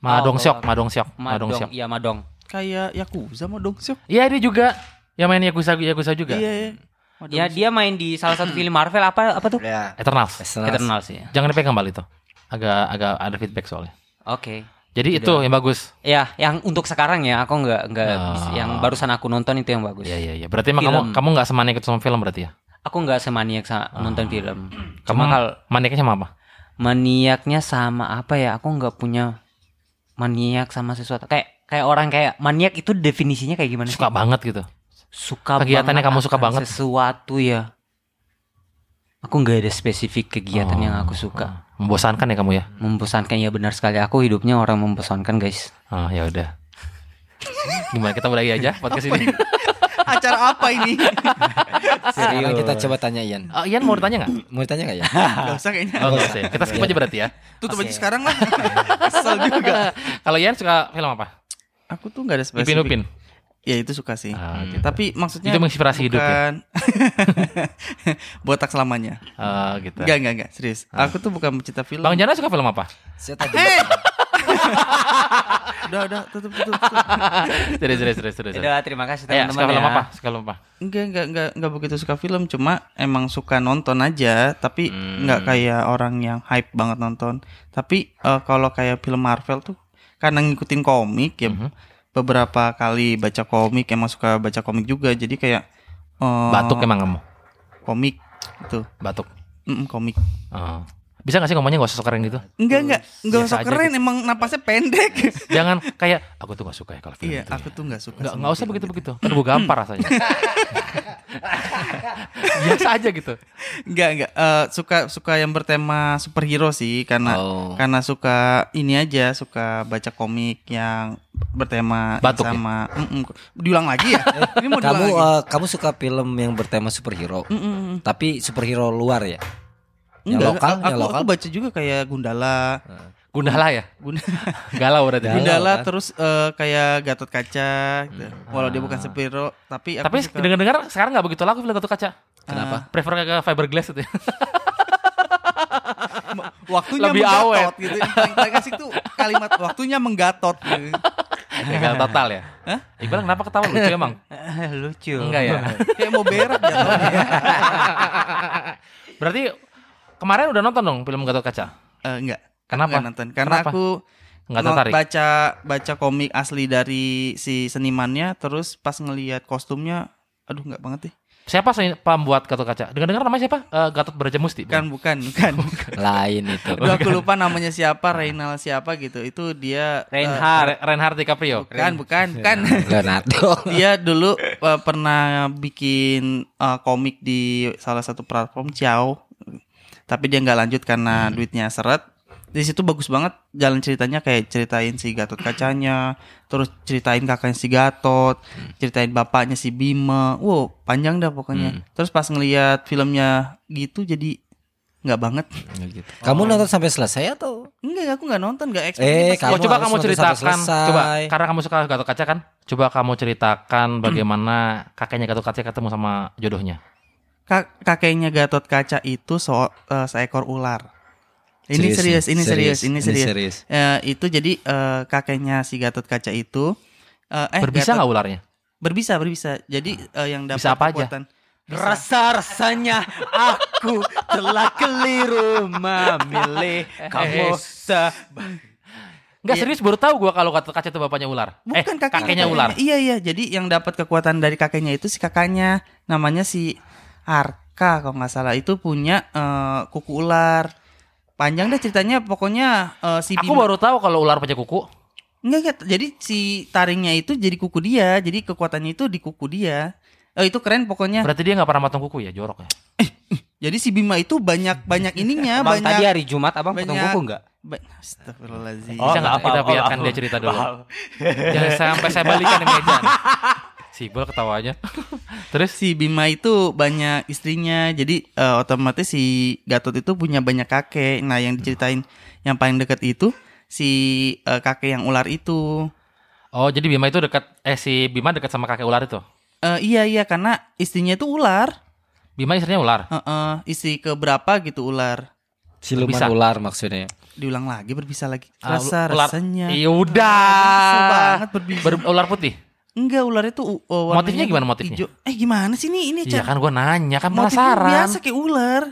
S1: Ma Dong Seok,
S4: Oh,
S1: Ma Dong Seok, Ma Dong
S4: Madong
S1: Seok.
S4: iya Madong
S3: kayak Yakuza mah dong Syuk.
S1: Iya dia juga yang main Yakuza Yakuza juga.
S3: Iya, iya. Mah dong,
S4: ya dia main di salah satu film Marvel apa apa tuh
S2: Ya.
S1: Eternals.
S2: Eternal.
S4: Eternals ya
S1: Jangan dipegang balik tuh. Agak agak ada feedback soalnya.
S4: oke
S1: Jadi itu yang bagus.
S4: Ya, yang untuk sekarang ya, aku nggak nggak
S1: Ah.
S4: bisa. yang barusan aku nonton itu yang bagus.
S1: Iya iya iya. Berarti emang kamu
S4: Film.
S1: kamu nggak semaniak itu sama film berarti ya?
S4: Aku nggak semaniak sa-
S1: Ah.
S4: nonton film.
S1: Kamu
S4: Cuma kalau
S1: maniaknya sama apa?
S4: maniaknya sama apa ya? Aku nggak punya maniak sama sesuatu. Kayak kayak orang kayak maniak itu definisinya kayak gimana? sih?
S1: Suka banget gitu.
S4: Suka
S1: Kegiatannya
S4: banget
S1: kamu suka
S4: akan
S1: banget.
S4: sesuatu ya. Aku nggak ada spesifik kegiatan Iya, yang aku suka.
S1: Oh. Membosankan ya kamu ya?
S4: Membosankan ya benar sekali. Aku hidupnya orang membosankan guys.
S1: Ah ya udah. Gimana kita mulai aja podcast ini?
S3: Acara apa ini?
S2: Ah, Sekarang kita coba tanya Ian.
S1: Oh, Ian mau ditanya nggak?
S2: Mau ditanya nggak Ian?
S3: Gak usah kayaknya.
S1: Oh, nggak sih. Kita skip aja berarti ya.
S3: Tutup
S4: Oke.
S3: aja sekarang lah. Kesel juga.
S1: Kalau Ian suka film apa?
S3: Aku tuh gak ada
S1: Ipin
S3: spesifik.
S1: Upin.
S3: Ya itu suka sih.
S1: Ah, gitu.
S3: Tapi maksudnya
S1: Itu menginspirasi hidup ya?
S3: bukan- Botak selamanya.
S1: Ah, gitu.
S3: Enggak, enggak, enggak. Serius. Aku tuh bukan mencinta film.
S1: Ah. Bang Jana suka film apa?
S2: Saya tadi.
S3: Eh, udah, udah, tutup, tutup. tutup.
S1: Serius serius serius serius.
S4: Udah, terima kasih
S1: Ya,
S4: teman-teman.
S1: suka film
S4: ya.
S1: apa? Suka film apa?
S3: Enggak, enggak, enggak, enggak begitu suka film, cuma emang suka nonton aja, tapi
S1: Hmm.
S3: enggak kayak orang yang hype banget nonton. Tapi eh, kalau kayak film Marvel tuh karena ngikutin komik ya
S1: Hmm.
S3: beberapa kali baca komik emang suka baca komik juga, jadi kayak eh,
S1: Batuk emang kamu?
S3: komik itu.
S1: Batuk.
S3: Mm, komik.
S1: Ah. Bisa gak sih ngomongnya gak usah keren gitu?
S3: Enggak, enggak, enggak
S1: biasa
S3: usah
S1: aja gitu.
S3: keren, emang napasnya pendek.
S1: Jangan kayak aku tuh gak suka ya kalau film
S3: Iya,
S1: itu.
S3: aku tuh enggak suka.
S1: Nggak,
S3: sama
S1: nggak usah
S3: film gitu.
S1: begitu-begitu. Ntar gue gampar rasanya. Biasa aja gitu.
S3: Enggak, enggak. Eh, suka suka yang bertema superhero sih karena
S2: Oh.
S3: karena suka ini aja, suka baca komik yang bertema
S1: Batuk ya?
S3: sama Mm-mm. diulang lagi ya. Ini mau diulang
S2: Kamu
S3: lagi.
S2: eh, kamu suka film yang bertema superhero, tapi superhero luar ya? Yang
S3: Enggak,
S2: lokal,
S3: aku,
S2: yang lokal.
S3: aku baca juga kayak Gundala,
S1: Gundala ya?
S3: Gundala,
S1: Galau berarti.
S2: Galau.
S3: Gundala
S2: kan?
S3: terus eh, kayak Gatot Kaca gitu. Walau dia bukan superhero, tapi aku
S1: Tapi
S3: suka-
S1: dengar-dengar sekarang nggak begitu laku film Gatot Kaca. Eh,
S2: Kenapa?
S1: Prefer ke fiberglass itu ya.
S3: waktunya
S1: lebih
S3: menggatot
S1: awet.
S3: gitu. Yang paling asik tuh kalimat waktunya menggatot gitu.
S1: Gagal total ya. Hah? Iqbal kenapa ketawa lucu emang?
S4: Lucu.
S1: Enggak ya.
S3: Kayak mau berak jatuhnya.
S1: Berarti kemarin udah nonton dong film Gatot Kaca.
S3: Eh, enggak.
S1: Kenapa?
S3: Enggak nonton karena
S1: Kenapa?
S3: aku
S1: Enggak
S3: no-
S1: tertarik.
S3: baca baca komik asli dari si senimannya terus pas ngelihat kostumnya aduh enggak banget deh.
S1: Siapa sih pembuat Gatot Kaca? Dengar-dengar namanya siapa? Eh, Gatot Brajamusti.
S3: Bukan bukan bukan.
S2: Lain itu.
S3: Aduh, aku lupa namanya siapa, Reynal siapa gitu. Itu dia eh,
S1: Reinhard Reinhard DiCaprio.
S3: bukan, bukan, bukan.
S2: Leonardo.
S3: dia dulu eh, pernah bikin eh, komik di salah satu platform Ciao tapi dia nggak lanjut karena
S2: Hmm.
S3: duitnya seret di situ bagus banget jalan ceritanya kayak ceritain si Gatot kacanya terus ceritain kakaknya si Gatot
S2: Hmm.
S3: ceritain bapaknya si Bima wow panjang dah
S2: Hmm.
S3: pokoknya terus pas ngelihat filmnya gitu jadi nggak banget Oh.
S2: Kamu nonton sampai selesai atau?
S3: enggak aku nggak nonton nggak expect
S2: Eh,
S1: Coba,
S3: Pas-
S1: coba
S2: kamu harus
S1: kamu
S2: nonton sampai
S1: ceritakan,
S2: selesai.
S1: coba karena kamu suka Gatot Kaca kan? Coba kamu ceritakan bagaimana kakeknya Gatot Kaca ketemu sama jodohnya.
S3: Ka- kakeknya Gatot Kaca itu so- eh, seekor ular. Ini serius, ini serius, ini serius. Eh, itu jadi eh, kakeknya si Gatot Kaca itu eh, eh
S1: Berbisa nggak
S3: Gatot-
S1: ularnya?
S3: Berbisa, berbisa. Jadi eh, yang dapat
S1: Bisa apa aja?
S3: kekuatan-
S4: Rasa-rasanya aku telah keliru memilih kamu se-
S1: Enggak serius baru tahu gua kalau Gatot Kaca itu bapaknya ular. eh,
S3: Bukan kakeknya,
S1: kakeknya ular.
S3: Iya, iya. Jadi yang dapat kekuatan dari kakeknya itu si kakaknya namanya si Arka kalau nggak salah itu punya eh, kuku ular. Panjang deh ceritanya pokoknya eh, si
S1: Aku
S3: Bima-
S1: baru tahu kalau ular punya kuku.
S3: Enggak, enggak. Jadi si taringnya itu jadi kuku dia. Jadi kekuatannya itu di kuku dia. Eh, itu keren pokoknya.
S1: Berarti dia nggak pernah matang kuku ya, jorok ya.
S3: Jadi si Bima itu banyak banyak ininya,
S4: Bang tadi
S3: banyak.
S4: hari Jumat abang potong
S3: banyak-
S4: kuku Oh. enggak?
S3: ba- Astagfirullahaladzim.
S1: Bisa nggak
S4: apa-apa,
S1: kita biarkan
S4: apa-apa.
S1: dia cerita dulu?
S4: Maaf.
S1: Jangan sampai saya balikan di meja. nih. Si Iqbal ketawanya. Terus
S3: Si Bima itu banyak istrinya. Jadi eh, otomatis si Gatot itu punya banyak kakek. Nah, yang diceritain yang paling dekat itu si eh, kakek yang ular itu.
S1: Oh, jadi Bima itu dekat eh si Bima dekat sama kakek ular itu.
S3: Eh, iya, iya karena istrinya itu ular.
S1: Bima istrinya ular.
S3: Heeh, istri keberapa gitu ular.
S2: Siluman
S1: Berbisa.
S2: ular maksudnya.
S3: Diulang lagi berbisa lagi.
S1: Ah,
S3: Rasa
S1: ular.
S3: rasanya.
S1: Iya udah.
S3: Kesel banget berbisa.
S1: Ber- ular putih.
S3: Enggak, ular itu uh, warnanya
S1: Motifnya gimana motifnya?
S3: hijau. Eh gimana sih nih ini
S1: Iya
S3: Cak?
S1: kan gua nanya kan
S3: Motifnya
S1: penasaran. Hmm.
S3: biasa kayak ular.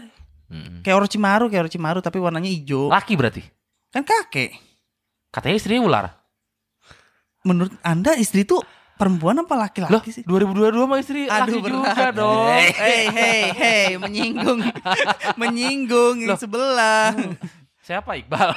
S1: Mm-mm.
S3: Kayak Orochimaru, kayak Orochimaru tapi warnanya hijau.
S1: Laki berarti.
S3: Kan kakek.
S1: Katanya istrinya ular.
S3: Menurut Anda istri itu perempuan apa
S1: Loh,
S3: laki-laki sih?
S1: 2022 mah istri laki
S3: Aduh, berat. Eh.
S1: juga dong.
S3: Hei, hei, hei, menyinggung. menyinggung yang sebelah.
S1: Hmm. Siapa Iqbal?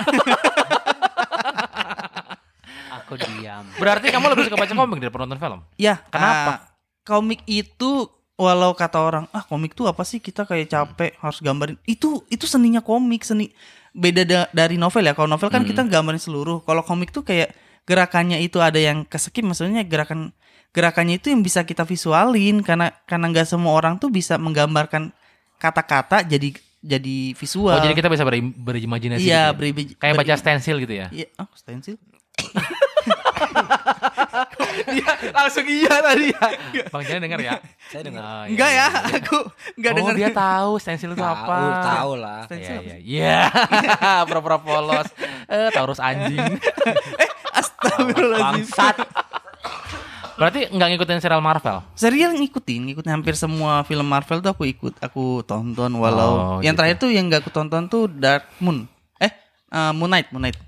S4: Aku diam.
S1: berarti kamu lebih suka baca komik daripada nonton film.
S3: Ya,
S1: Kenapa?
S3: ah, komik itu walau kata orang, ah komik tuh apa sih kita kayak capek harus gambarin. Itu itu seninya komik, seni beda da- dari novel ya. Kalau novel kan
S1: Hmm.
S3: kita gambarin seluruh. Kalau komik tuh kayak gerakannya itu ada yang kesekip maksudnya gerakan gerakannya itu yang bisa kita visualin karena karena nggak semua orang tuh bisa menggambarkan kata-kata jadi jadi visual.
S1: Oh, jadi kita bisa beri, berimajinasi gitu
S3: iya,
S1: ya?
S3: beri-
S1: Kayak
S3: beri-
S1: baca stensil gitu ya.
S3: Iya, ah, stensil.
S1: Iya, langsung iya tadi ya. Bang Jan denger ya?
S2: Saya
S1: Oh,
S2: dengar.
S1: iya,
S3: Enggak ya,
S1: iya.
S3: aku enggak
S1: oh,
S3: dengar.
S1: dia tahu stensil itu apa.
S2: Tahu, tahu lah.
S1: Iya, iya. Iya. Pura-pura polos. Eh, Taurus anjing.
S3: Astagfirullahaladzim.
S1: Berarti nggak ngikutin serial Marvel.
S3: serial ngikutin, ngikutin hampir semua film Marvel tuh aku ikut, aku tonton
S1: Oh,
S3: walau yang
S1: gitu.
S3: terakhir tuh yang gak aku tonton tuh Dark Moon. Eh, eh, Moon Knight, Moon Knight.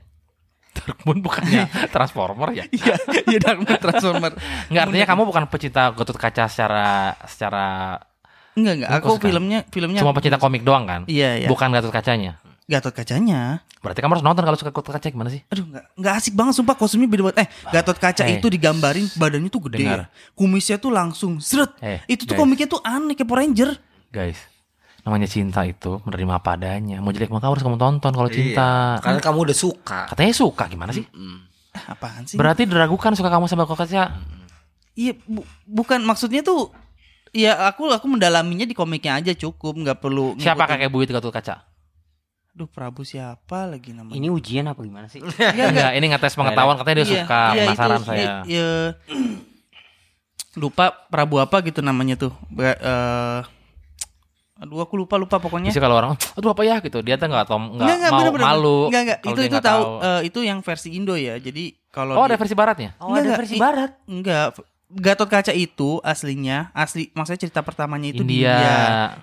S1: Dark Moon bukannya Transformer ya?
S3: Iya, iya Dark Moon Transformer.
S1: Nggak artinya kamu bukan pecinta Gatot Kaca secara secara
S3: Enggak, enggak.
S1: Lu
S3: Aku
S1: suka?
S3: filmnya filmnya
S1: cuma pecinta komik doang kan?
S3: Iya, iya.
S1: Bukan Gatot Kacanya.
S3: Gatot Kacanya.
S1: Berarti kamu harus nonton kalau suka Gatot Kaca gimana sih?
S3: Aduh, enggak, enggak asik banget sumpah kostumnya beda banget. Eh, Gatot Kaca
S1: Eh.
S3: itu digambarin badannya tuh gede.
S1: Dengar.
S3: ya. Kumisnya tuh langsung seret.
S1: Eh,
S3: itu tuh
S1: guys.
S3: komiknya tuh aneh kayak Power Ranger.
S1: Guys, namanya cinta itu menerima apa Iya. adanya. Mau jelek mau kamu harus kamu tonton kalau cinta.
S2: Karena kamu Iya. udah suka. Mm.
S1: Katanya suka gimana sih?
S3: "Ah, apaan sih
S1: Berarti diragukan suka kamu sama koketnya.
S3: Iya, bu- bukan maksudnya tuh ya aku aku mendalaminya di komiknya aja cukup, nggak perlu
S1: Siapa
S3: ngikutin-
S1: kakek buyut gatot kaca?
S3: Aduh, Prabu siapa lagi namanya?
S4: Ini ujian apa gimana sih?
S1: Enggak, ini ngetes pengetahuan katanya dia
S3: Iya,
S1: suka
S3: iya, itu,
S1: penasaran
S3: iya,
S1: saya.
S3: iya. lupa Prabu apa gitu namanya tuh. Ba- eh, aduh, aku lupa lupa pokoknya.
S1: Bisa kalau orang, aduh apa ya gitu, dia tuh nggak tom, nggak
S3: Nggak, nggak,
S1: mau
S3: iya. bener-bener.
S1: malu.
S3: Nggak, nggak.
S1: kalau
S3: Itu
S1: dia
S3: itu
S1: nggak
S3: tahu eh, itu yang versi Indo ya. Jadi kalau
S1: Oh
S3: di-
S1: ada versi baratnya?
S4: Oh,
S3: Enggak,
S4: ada
S3: enggak.
S4: versi
S3: I-
S4: barat.
S3: enggak Gatot Kaca itu aslinya asli maksudnya cerita pertamanya itu
S1: India.
S3: di India.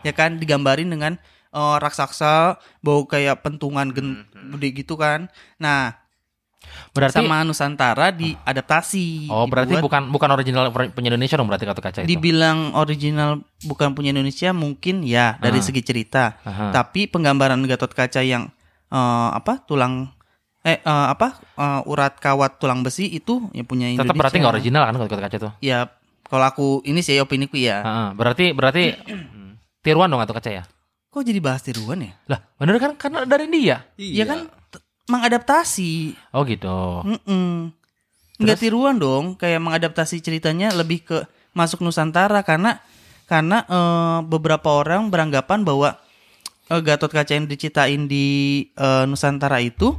S3: Ya kan digambarin dengan eh, raksasa bau kayak pentungan gen- gede gitu kan. Nah,
S1: Berarti
S3: sama Nusantara diadaptasi.
S1: Oh berarti
S3: dibuat.
S1: bukan bukan original punya Indonesia dong berarti gatot kaca itu.
S3: dibilang original bukan punya Indonesia mungkin ya dari
S1: Ah.
S3: segi cerita.
S1: Aha.
S3: Tapi penggambaran Gatot Kaca yang eh, apa? tulang eh eh, apa? eh, urat kawat tulang besi itu yang punya Indonesia.
S1: Tetap berarti nggak original kan gatot kaca itu.
S3: Ya, kalau aku ini sih opini ku ya.
S1: Heeh, berarti berarti tiruan dong gatot kaca ya.
S3: Kok jadi bahas tiruan ya?
S1: Lah bener kan karena dari India.
S2: Iya.
S3: Ya kan t- mengadaptasi.
S1: Oh gitu.
S3: Mm-mm. Nggak tiruan dong, kayak mengadaptasi ceritanya lebih ke masuk Nusantara karena karena eh, beberapa orang beranggapan bahwa eh, Gatot Kaca yang diciptain di eh, Nusantara itu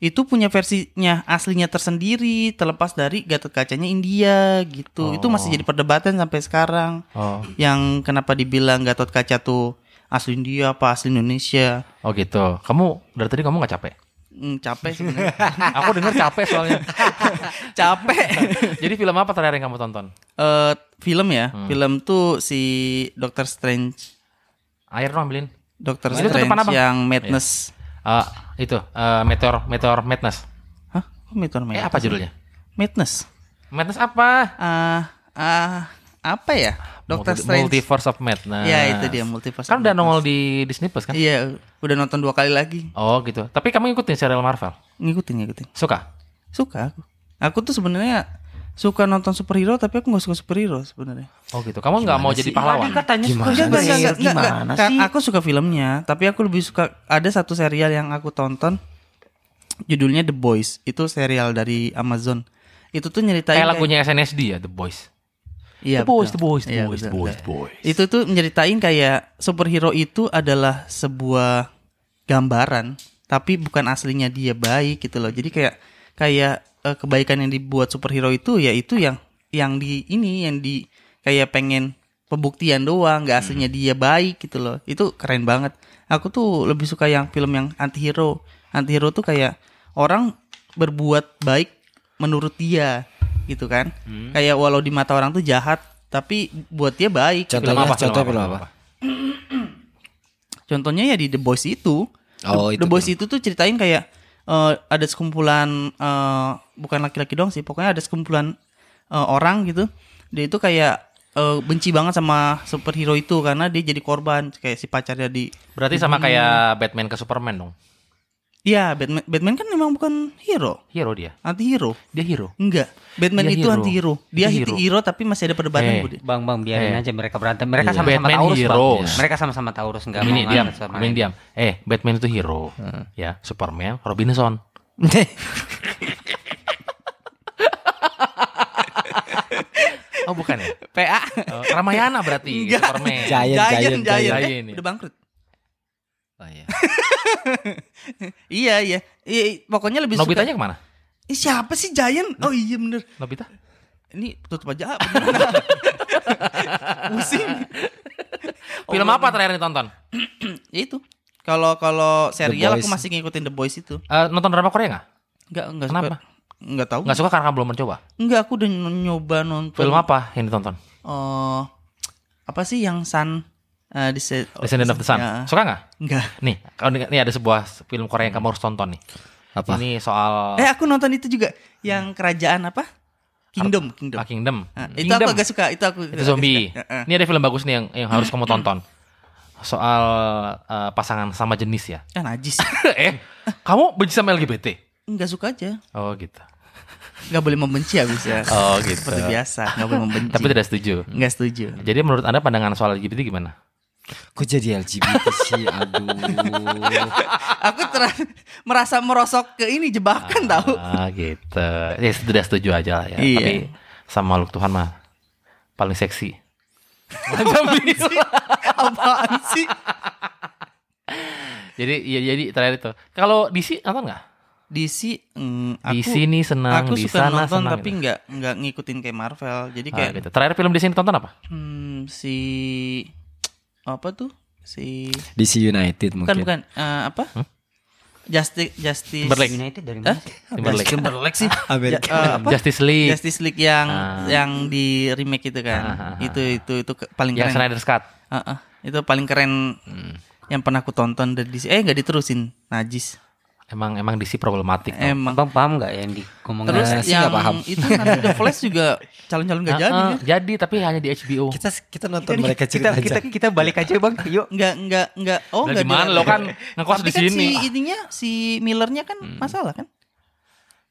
S3: itu punya versinya aslinya tersendiri terlepas dari Gatot Kacanya India gitu. Itu masih jadi perdebatan sampai sekarang.
S1: Oh
S3: Yang kenapa dibilang Gatot Kaca tuh asli India apa asli Indonesia?
S1: oh gitu. Kamu dari tadi kamu nggak capek?
S3: Hmm, capek sebenarnya.
S1: Aku dengar capek soalnya.
S3: capek.
S1: Jadi film apa terakhir yang kamu tonton?
S3: eh film ya,
S1: Hmm.
S3: film tuh si Doctor Strange,
S1: Air dong ambilin.
S3: Doctor
S1: Itu tuh
S3: Strange
S1: depan apa? Iya.
S3: yang Madness.
S1: Eh, itu eh, Meteor Meteor Madness.
S3: Hah? Kok Meteor
S1: Eh
S3: Madness?
S1: apa judulnya?
S3: Madness.
S1: Madness apa?
S3: Ah, ah, apa ya? Doctor
S1: Multi-
S3: Strange.
S1: Multiverse of Madness.
S3: Ya itu dia Multiverse.
S1: Kan udah nongol di Disney Plus kan?
S3: Iya, udah nonton dua kali lagi.
S1: Oh gitu. Tapi kamu ngikutin serial Marvel?
S3: Ngikutin, ngikutin.
S1: Suka?
S3: Suka aku. Aku tuh sebenarnya suka nonton superhero tapi aku nggak suka superhero sebenarnya.
S1: Oh gitu. Kamu nggak mau jadi pahlawan?
S4: Tadi katanya
S2: Gimana
S4: suka
S2: sih?
S4: juga.
S2: Enggak, enggak, enggak.
S3: Kan aku suka filmnya, tapi aku lebih suka ada satu serial yang aku tonton judulnya The Boys. Itu serial dari Amazon. Itu tuh nyeritain
S1: Kayak
S3: kayak-
S1: lagunya SNSD ya, The Boys.
S3: Iya,
S1: the Boys,
S3: betul.
S1: The Boys, The
S3: Iya,
S1: Boys, The
S3: betul,
S1: Boys,
S3: betul.
S1: The Boys.
S3: Itu tuh nyeritain kayak superhero itu adalah sebuah gambaran, tapi bukan aslinya dia baik gitu loh. Jadi kayak kayak eh, kebaikan yang dibuat superhero itu ya itu yang yang di ini yang di kayak pengen pembuktian doang, nggak aslinya dia baik gitu loh. Itu keren banget. Aku tuh lebih suka yang film yang antihero. Antihero tuh kayak orang berbuat baik menurut dia gitu kan. Kayak walau di mata orang tuh jahat, tapi buat dia baik. gitu
S2: Contohnya,
S3: loh.
S2: contoh film apa?
S3: Contohnya ya di The Boys itu.
S2: Oh,
S3: The,
S2: itu
S3: The Boys itu tuh ceritain kayak eh, ada sekumpulan eh, bukan laki-laki doang sih, pokoknya ada sekumpulan eh, orang gitu. Dia itu kayak eh, benci banget sama superhero itu karena dia jadi korban kayak si pacarnya di
S1: Berarti sama kayak Batman ke Superman dong.
S3: Iya, Batman Batman kan memang bukan hero,
S1: Hero dia.
S3: anti hero.
S1: Dia hero.
S3: Enggak, Batman
S1: Dia
S3: itu
S1: hero.
S3: anti hero. Dia
S1: Dia
S3: anti
S1: hero.
S3: hero tapi masih ada perdebatan
S1: Eh,
S3: Budi.
S4: Bang, bang,
S1: Eh.
S4: biarin aja mereka berantem. Mereka
S1: Iya.
S4: sama-sama
S1: Batman
S4: Taurus, Bang.
S1: Heroes.
S4: Mereka sama-sama Taurus, enggak
S1: Ini
S4: mau
S1: diam,
S4: ngangkat sama
S1: ini
S4: lain.
S1: diam. Eh, Batman itu hero. Ya, Superman, Robinson. Oh, bukan ya?
S3: PA
S1: Eh, Ramayana berarti
S3: Enggak.
S1: Superman.
S2: Giant,
S3: Giant,
S2: Giant,
S3: Giant.
S1: Giant.
S3: Eh, udah bangkrut.
S2: Oh, iya.
S3: Iya, iya. Iya, iya. pokoknya lebih suka-
S1: Nobitanya kemana?
S3: Ih, siapa sih Giant? Oh iya bener.
S1: Nobita?
S3: Ini tutup aja. ah, bener. Pusing. Oh,
S1: Film apa terakhir ditonton?
S3: Ya itu. Kalau kalau serial
S2: Boys.
S3: aku masih ngikutin The Boys itu.
S1: Eh, nonton drama Korea nggak?
S3: Enggak, enggak
S1: Kenapa?
S3: Enggak tahu.
S1: Nggak suka karena kamu belum mencoba.
S3: Enggak, aku udah nyoba nonton.
S1: Film apa yang ditonton?
S3: Eh, apa sih yang Sun eh, Dese-
S1: Descendant of the Sun.
S3: Ya,
S1: Suka nggak?
S3: enggak.
S1: Nih, kalau dengar- nih ada sebuah film Korea yang kamu harus tonton nih.
S2: Apa?
S1: Ini soal
S3: Eh, aku nonton itu juga yang kerajaan apa? Kingdom, Kingdom.
S1: Ah, Kingdom.
S3: Ah, itu
S1: Kingdom.
S3: aku agak suka, itu aku.
S1: Itu zombie.
S3: Heeh.
S1: Ini ada film bagus nih yang yang harus kamu tonton. Soal eh, pasangan sama jenis ya.
S3: Ah, najis.
S1: eh, kamu benci sama LGBT?
S3: Enggak suka aja.
S1: Oh gitu.
S3: Enggak boleh membenci habis ya.
S1: Oh, gitu.
S3: Seperti biasa, enggak boleh membenci.
S1: Tapi tidak setuju.
S3: enggak setuju.
S1: Jadi menurut Anda pandangan soal LGBT gimana?
S2: Kok jadi LGBT sih? Aduh.
S3: Aku ter- merasa merosok ke ini jebakan tahu.
S1: Ah gitu. Ya sudah setuju aja lah ya.
S3: Iya.
S1: Tapi sama makhluk Tuhan mah paling seksi. Macam gitu.
S3: Apaan sih?
S1: jadi ya jadi terakhir itu. Kalau DC nonton nggak?
S3: DC mm, aku
S1: Di sini senang,
S3: aku
S1: di
S3: suka
S1: sana
S3: nonton
S1: senang.
S3: tapi
S1: gitu.
S3: nggak nggak ngikutin kayak Marvel. Jadi
S1: Ah,
S3: kayak
S1: gitu. Terakhir film di sini tonton apa?
S3: hmm, si apa tuh? Si
S2: DC United
S3: bukan
S2: mungkin.
S3: bukan eh, apa? Justice Justice
S1: Timberlake.
S4: United dari
S3: Hah?
S4: mana? sih?
S1: Timberlake.
S2: Timberlake sih.
S3: Ja-
S1: Ya,
S3: eh,
S2: Amerika.
S3: apa?
S1: Justice League.
S3: Justice League yang
S1: Ah.
S3: yang di remake itu kan.
S1: Ah, ah, ah.
S3: Itu itu itu ke- paling
S1: yang Hmm.
S3: keren.
S1: Snyder's Cut.
S3: Ah, ah. Itu paling keren yang pernah aku tonton dari DC. Eh nggak diterusin. Najis.
S1: Emang emang DC problematik. tau.
S3: Emang
S4: Abang paham nggak ya, yang dikomongin?
S3: Terus
S2: Nah, sih
S3: yang
S2: nggak paham.
S3: itu nanti The Flash juga calon-calon nggak
S1: Ah,
S3: jadi
S1: ah,
S3: ya.
S1: jadi tapi hanya di HBO.
S2: Kita kita nonton mereka cerita aja.
S4: kita, kita balik aja bang, yuk.
S3: Nggak nggak nggak. Oh
S1: Lah,
S3: nggak
S1: gimana
S3: jadi.
S1: lo kan ngekos
S3: Tapi
S1: di
S3: kan
S1: sini. Hmm.
S3: si ininya si Millernya kan masalah kan?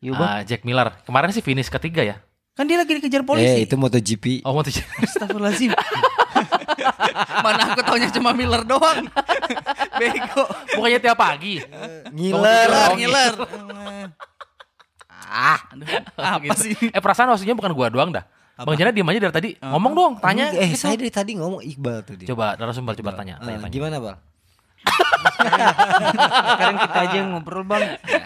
S4: Yuk
S3: Gitu,
S4: bang.
S1: Ah, Jack Miller. Kemarin sih finish ketiga ya.
S3: Kan dia lagi
S2: Eh
S3: dikejar polisi.
S2: itu MotoGP.
S1: Oh, mau tuh.
S3: Astagfirullahaladzim. Mana aku taunya cuma Miller doang. Bego.
S1: Bukannya tiap pagi.
S2: Ngiler.
S1: Ngiler,
S3: Ngiler, ngiler. ah, aduh, apa sih?
S1: Eh perasaan maksudnya bukan gua doang dah. Bang Jana diem aja dari tadi. Ngomong dong, tanya.
S2: Eh
S1: gitu.
S2: saya dari tadi ngomong Iqbal tuh dia.
S1: Coba narasumber coba tanya,
S2: Eh,
S1: tanya, tanya.
S2: gimana bal?
S4: Sekarang kita aja yang ngobrol bang.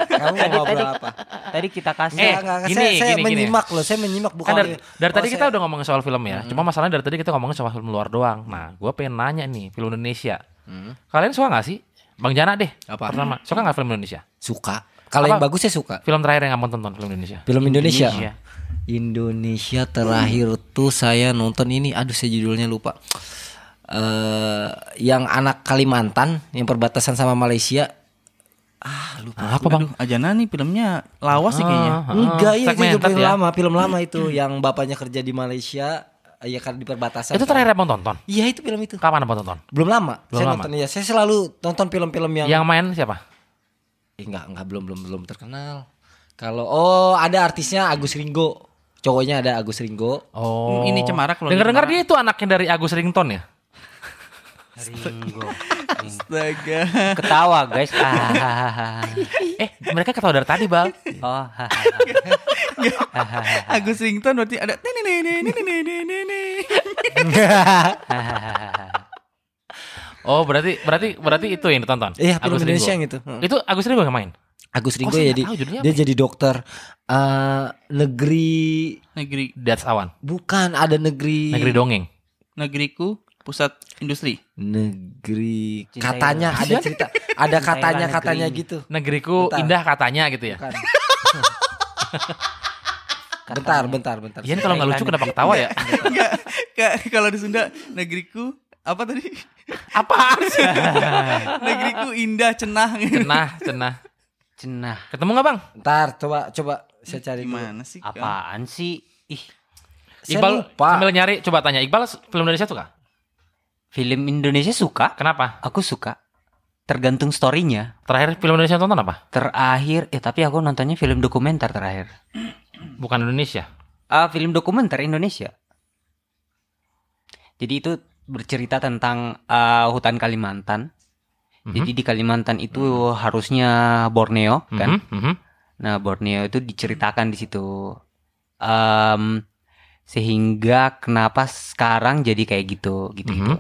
S2: Kamu mau ngobrol apa?
S4: Tadi kita kasih.
S1: Eh,
S2: Enggak, enggak,
S1: gini,
S2: saya, saya
S1: gini, gini.
S2: menyimak loh, saya menyimak bukan.
S1: Kan dari, dari
S2: Oh,
S1: tadi kita
S2: saya- Hmm.
S1: udah ngomongin soal film ya. Cuma masalahnya dari tadi kita ngomongin soal film luar doang. Nah, gua pengen nanya nih, film Indonesia. Kalian suka gak sih? Bang Jana deh.
S2: Hmm. Apa?
S1: Pertama, suka gak film Indonesia?
S2: suka. Kalau yang
S1: Apa?
S2: bagus saya suka.
S1: Film terakhir yang kamu tonton film Indonesia.
S2: Film Indonesia.
S1: Indonesia.
S2: Indonesia. terakhir tuh saya nonton ini, aduh saya judulnya lupa. Eh yang anak Kalimantan yang perbatasan sama Malaysia. Ah, lupa.
S1: Apa Bang?
S3: Aduh, Ajana nih filmnya lawas sih kayaknya.
S1: Ah, ah,
S2: Enggak, iya itu
S1: segmented
S2: film
S1: ya.
S2: lama, film lama itu yang bapaknya kerja di Malaysia, eh, ya kan di perbatasan.
S1: Itu terakhir abang tonton.
S2: Iya, itu film itu.
S1: Kapan abang tonton?
S2: Belum lama.
S1: Belum
S2: saya
S1: lama. Ya.
S2: nonton ya. Saya selalu nonton film-film yang
S1: Yang main siapa?
S2: Eh, enggak, enggak belum belum belum terkenal. Kalau oh ada artisnya Agus Ringo. Cowoknya ada Agus Ringo.
S1: Oh,
S3: Ini Cemara kalau
S1: Dengar-dengar
S3: Cemara.
S1: dia itu anaknya dari Agus Rington ya?
S4: Ringo. Ringo.
S3: Astaga.
S4: Ketawa guys. Ah.
S1: Eh, mereka ketawa dari tadi, Bang.
S4: Oh.
S3: Agus Rington berarti ada nih nih nih nih nih nih nih nih.
S1: Oh, berarti berarti berarti itu yang ditonton.
S2: Iya, film
S1: Agus
S2: Indonesia
S1: Ringo.
S2: yang itu. Heeh.
S1: Itu Agus Ringo yang main.
S2: Agus Ringo
S1: Oh, saya nggak
S2: jadi
S1: tahu judulnya ya?
S2: dia jadi dokter eh negeri
S3: Negeri
S1: That's Awan.
S2: bukan ada negeri
S4: Iya.
S1: Negeri dongeng.
S3: negeriku pusat industri.
S2: negeri
S4: Cintailah.
S2: katanya ada cerita ada katanya
S4: negeri.
S2: katanya gitu.
S1: Negeriku
S2: Bentar.
S1: indah katanya gitu ya.
S2: Bukan. bentar, bentar, bentar.
S1: Ian kalau nggak lucu kenapa ketawa
S4: Iya.
S1: ya?
S3: Enggak, ka- kalau di Sunda negeriku apa tadi?
S1: Apaan sih?
S3: negeriku indah cenah.
S1: Cenah, cenah.
S4: Cenah.
S1: Ketemu nggak bang?
S2: Bentar, coba coba saya cari dulu.
S3: Gimana sih? Kak?
S4: Apaan sih? Ih,
S2: Saya
S1: Iqbal
S2: lupa.
S1: sambil nyari coba tanya Iqbal film Indonesia suka?
S4: film Indonesia suka?
S1: Kenapa?
S4: Aku suka. Tergantung storynya.
S1: Terakhir film Indonesia yang tonton apa?
S4: Terakhir, ya tapi aku nontonnya film dokumenter terakhir.
S1: Bukan Indonesia.
S4: Ah, film dokumenter Indonesia. Jadi itu bercerita tentang ah, hutan Kalimantan.
S1: Mhm.
S4: Hmm. Jadi di Kalimantan itu harusnya Borneo kan.
S1: Mhm, mhm.
S4: Nah, Borneo itu diceritakan di situ. Em, sehingga kenapa sekarang jadi kayak gitu gitu gitu.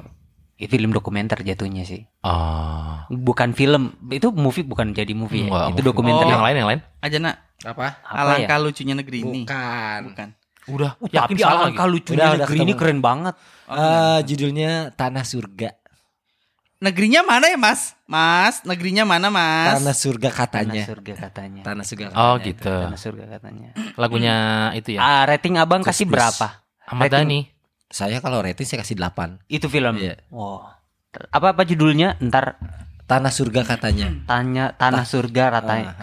S1: Mhm.
S4: film dokumenter jatuhnya sih.
S1: Oh.
S4: Bukan film, itu movie bukan jadi movie. ya.
S1: Wah,
S4: Itu
S1: movie.
S4: dokumenter.
S3: Oh.
S1: Yang lain yang lain.
S3: Ajana,
S2: apa?
S4: Apa ya?
S3: alangkah lucunya negeri ini.
S2: Bukan.
S3: Bukan.
S1: Udah.
S4: Tapi
S1: Yakin salah lagi.
S4: alangkah lucunya
S2: Udah, udah
S4: negeri ini
S2: ketemu.
S4: keren banget.
S1: Oh,
S3: Oh,
S2: Eh, judulnya Tanah Surga.
S3: Negerinya mana ya, Mas? Mas, negerinya mana, Mas?
S2: Tanah Surga
S4: Tanah
S2: katanya.
S4: surga katanya.
S2: Tanah Surga.
S1: Oh
S2: katanya.
S1: gitu.
S4: Tanah surga katanya.
S1: Lagunya itu ya.
S4: Ah, eh, rating Abang kasih
S2: Plus, plus.
S4: berapa?
S1: Ahmad
S4: rating.
S1: Dhani.
S2: Saya kalau rating saya kasih 8.
S4: Itu film.
S2: Iya.
S4: Wow. Apa apa judulnya? Ntar
S2: Tanah Surga katanya.
S4: tanya Tanah Surga rata-
S2: Ah, ah,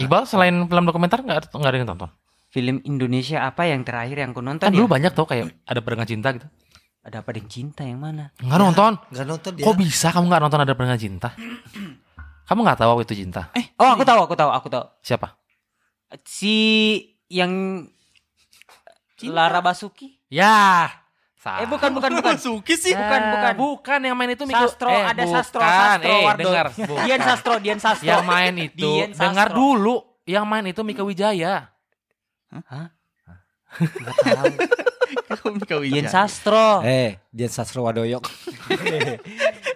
S2: ah.
S1: Iqbal selain film dokumenter nggak nggak ada yang tonton?
S4: Film Indonesia apa yang terakhir yang ku nonton
S1: Kan
S4: ya?
S1: dulu banyak tuh kayak ada perengan cinta gitu.
S4: Ada apa yang cinta yang mana?
S1: Nggak nonton.
S2: Enggak nonton dia.
S1: Kok bisa kamu nggak nonton ada perengan cinta? kamu nggak tahu apa itu cinta?
S4: Oh, aku tahu, aku tahu, aku tahu.
S1: Siapa?
S4: Si yang Lara Basuki.
S1: Ya, Sa-
S4: Eh bukan bukan bukan.
S3: Suki sih.
S4: Bukan bukan.
S1: Bukan yang main itu Miko.
S4: Sastro
S1: Eh,
S4: ada
S1: bukan.
S4: Sastro Sastro
S1: eh,
S4: Wardon.
S1: dengar.
S4: Dian
S1: Bukan.
S4: Sastro Dian Sastro.
S1: yang main itu
S4: Dian Sastro.
S1: dengar dulu yang main itu Mika Wijaya
S3: Komika
S4: Dian
S3: Wijaya.
S4: Sastro.
S2: Eh, Dian Sastro Wadoyok.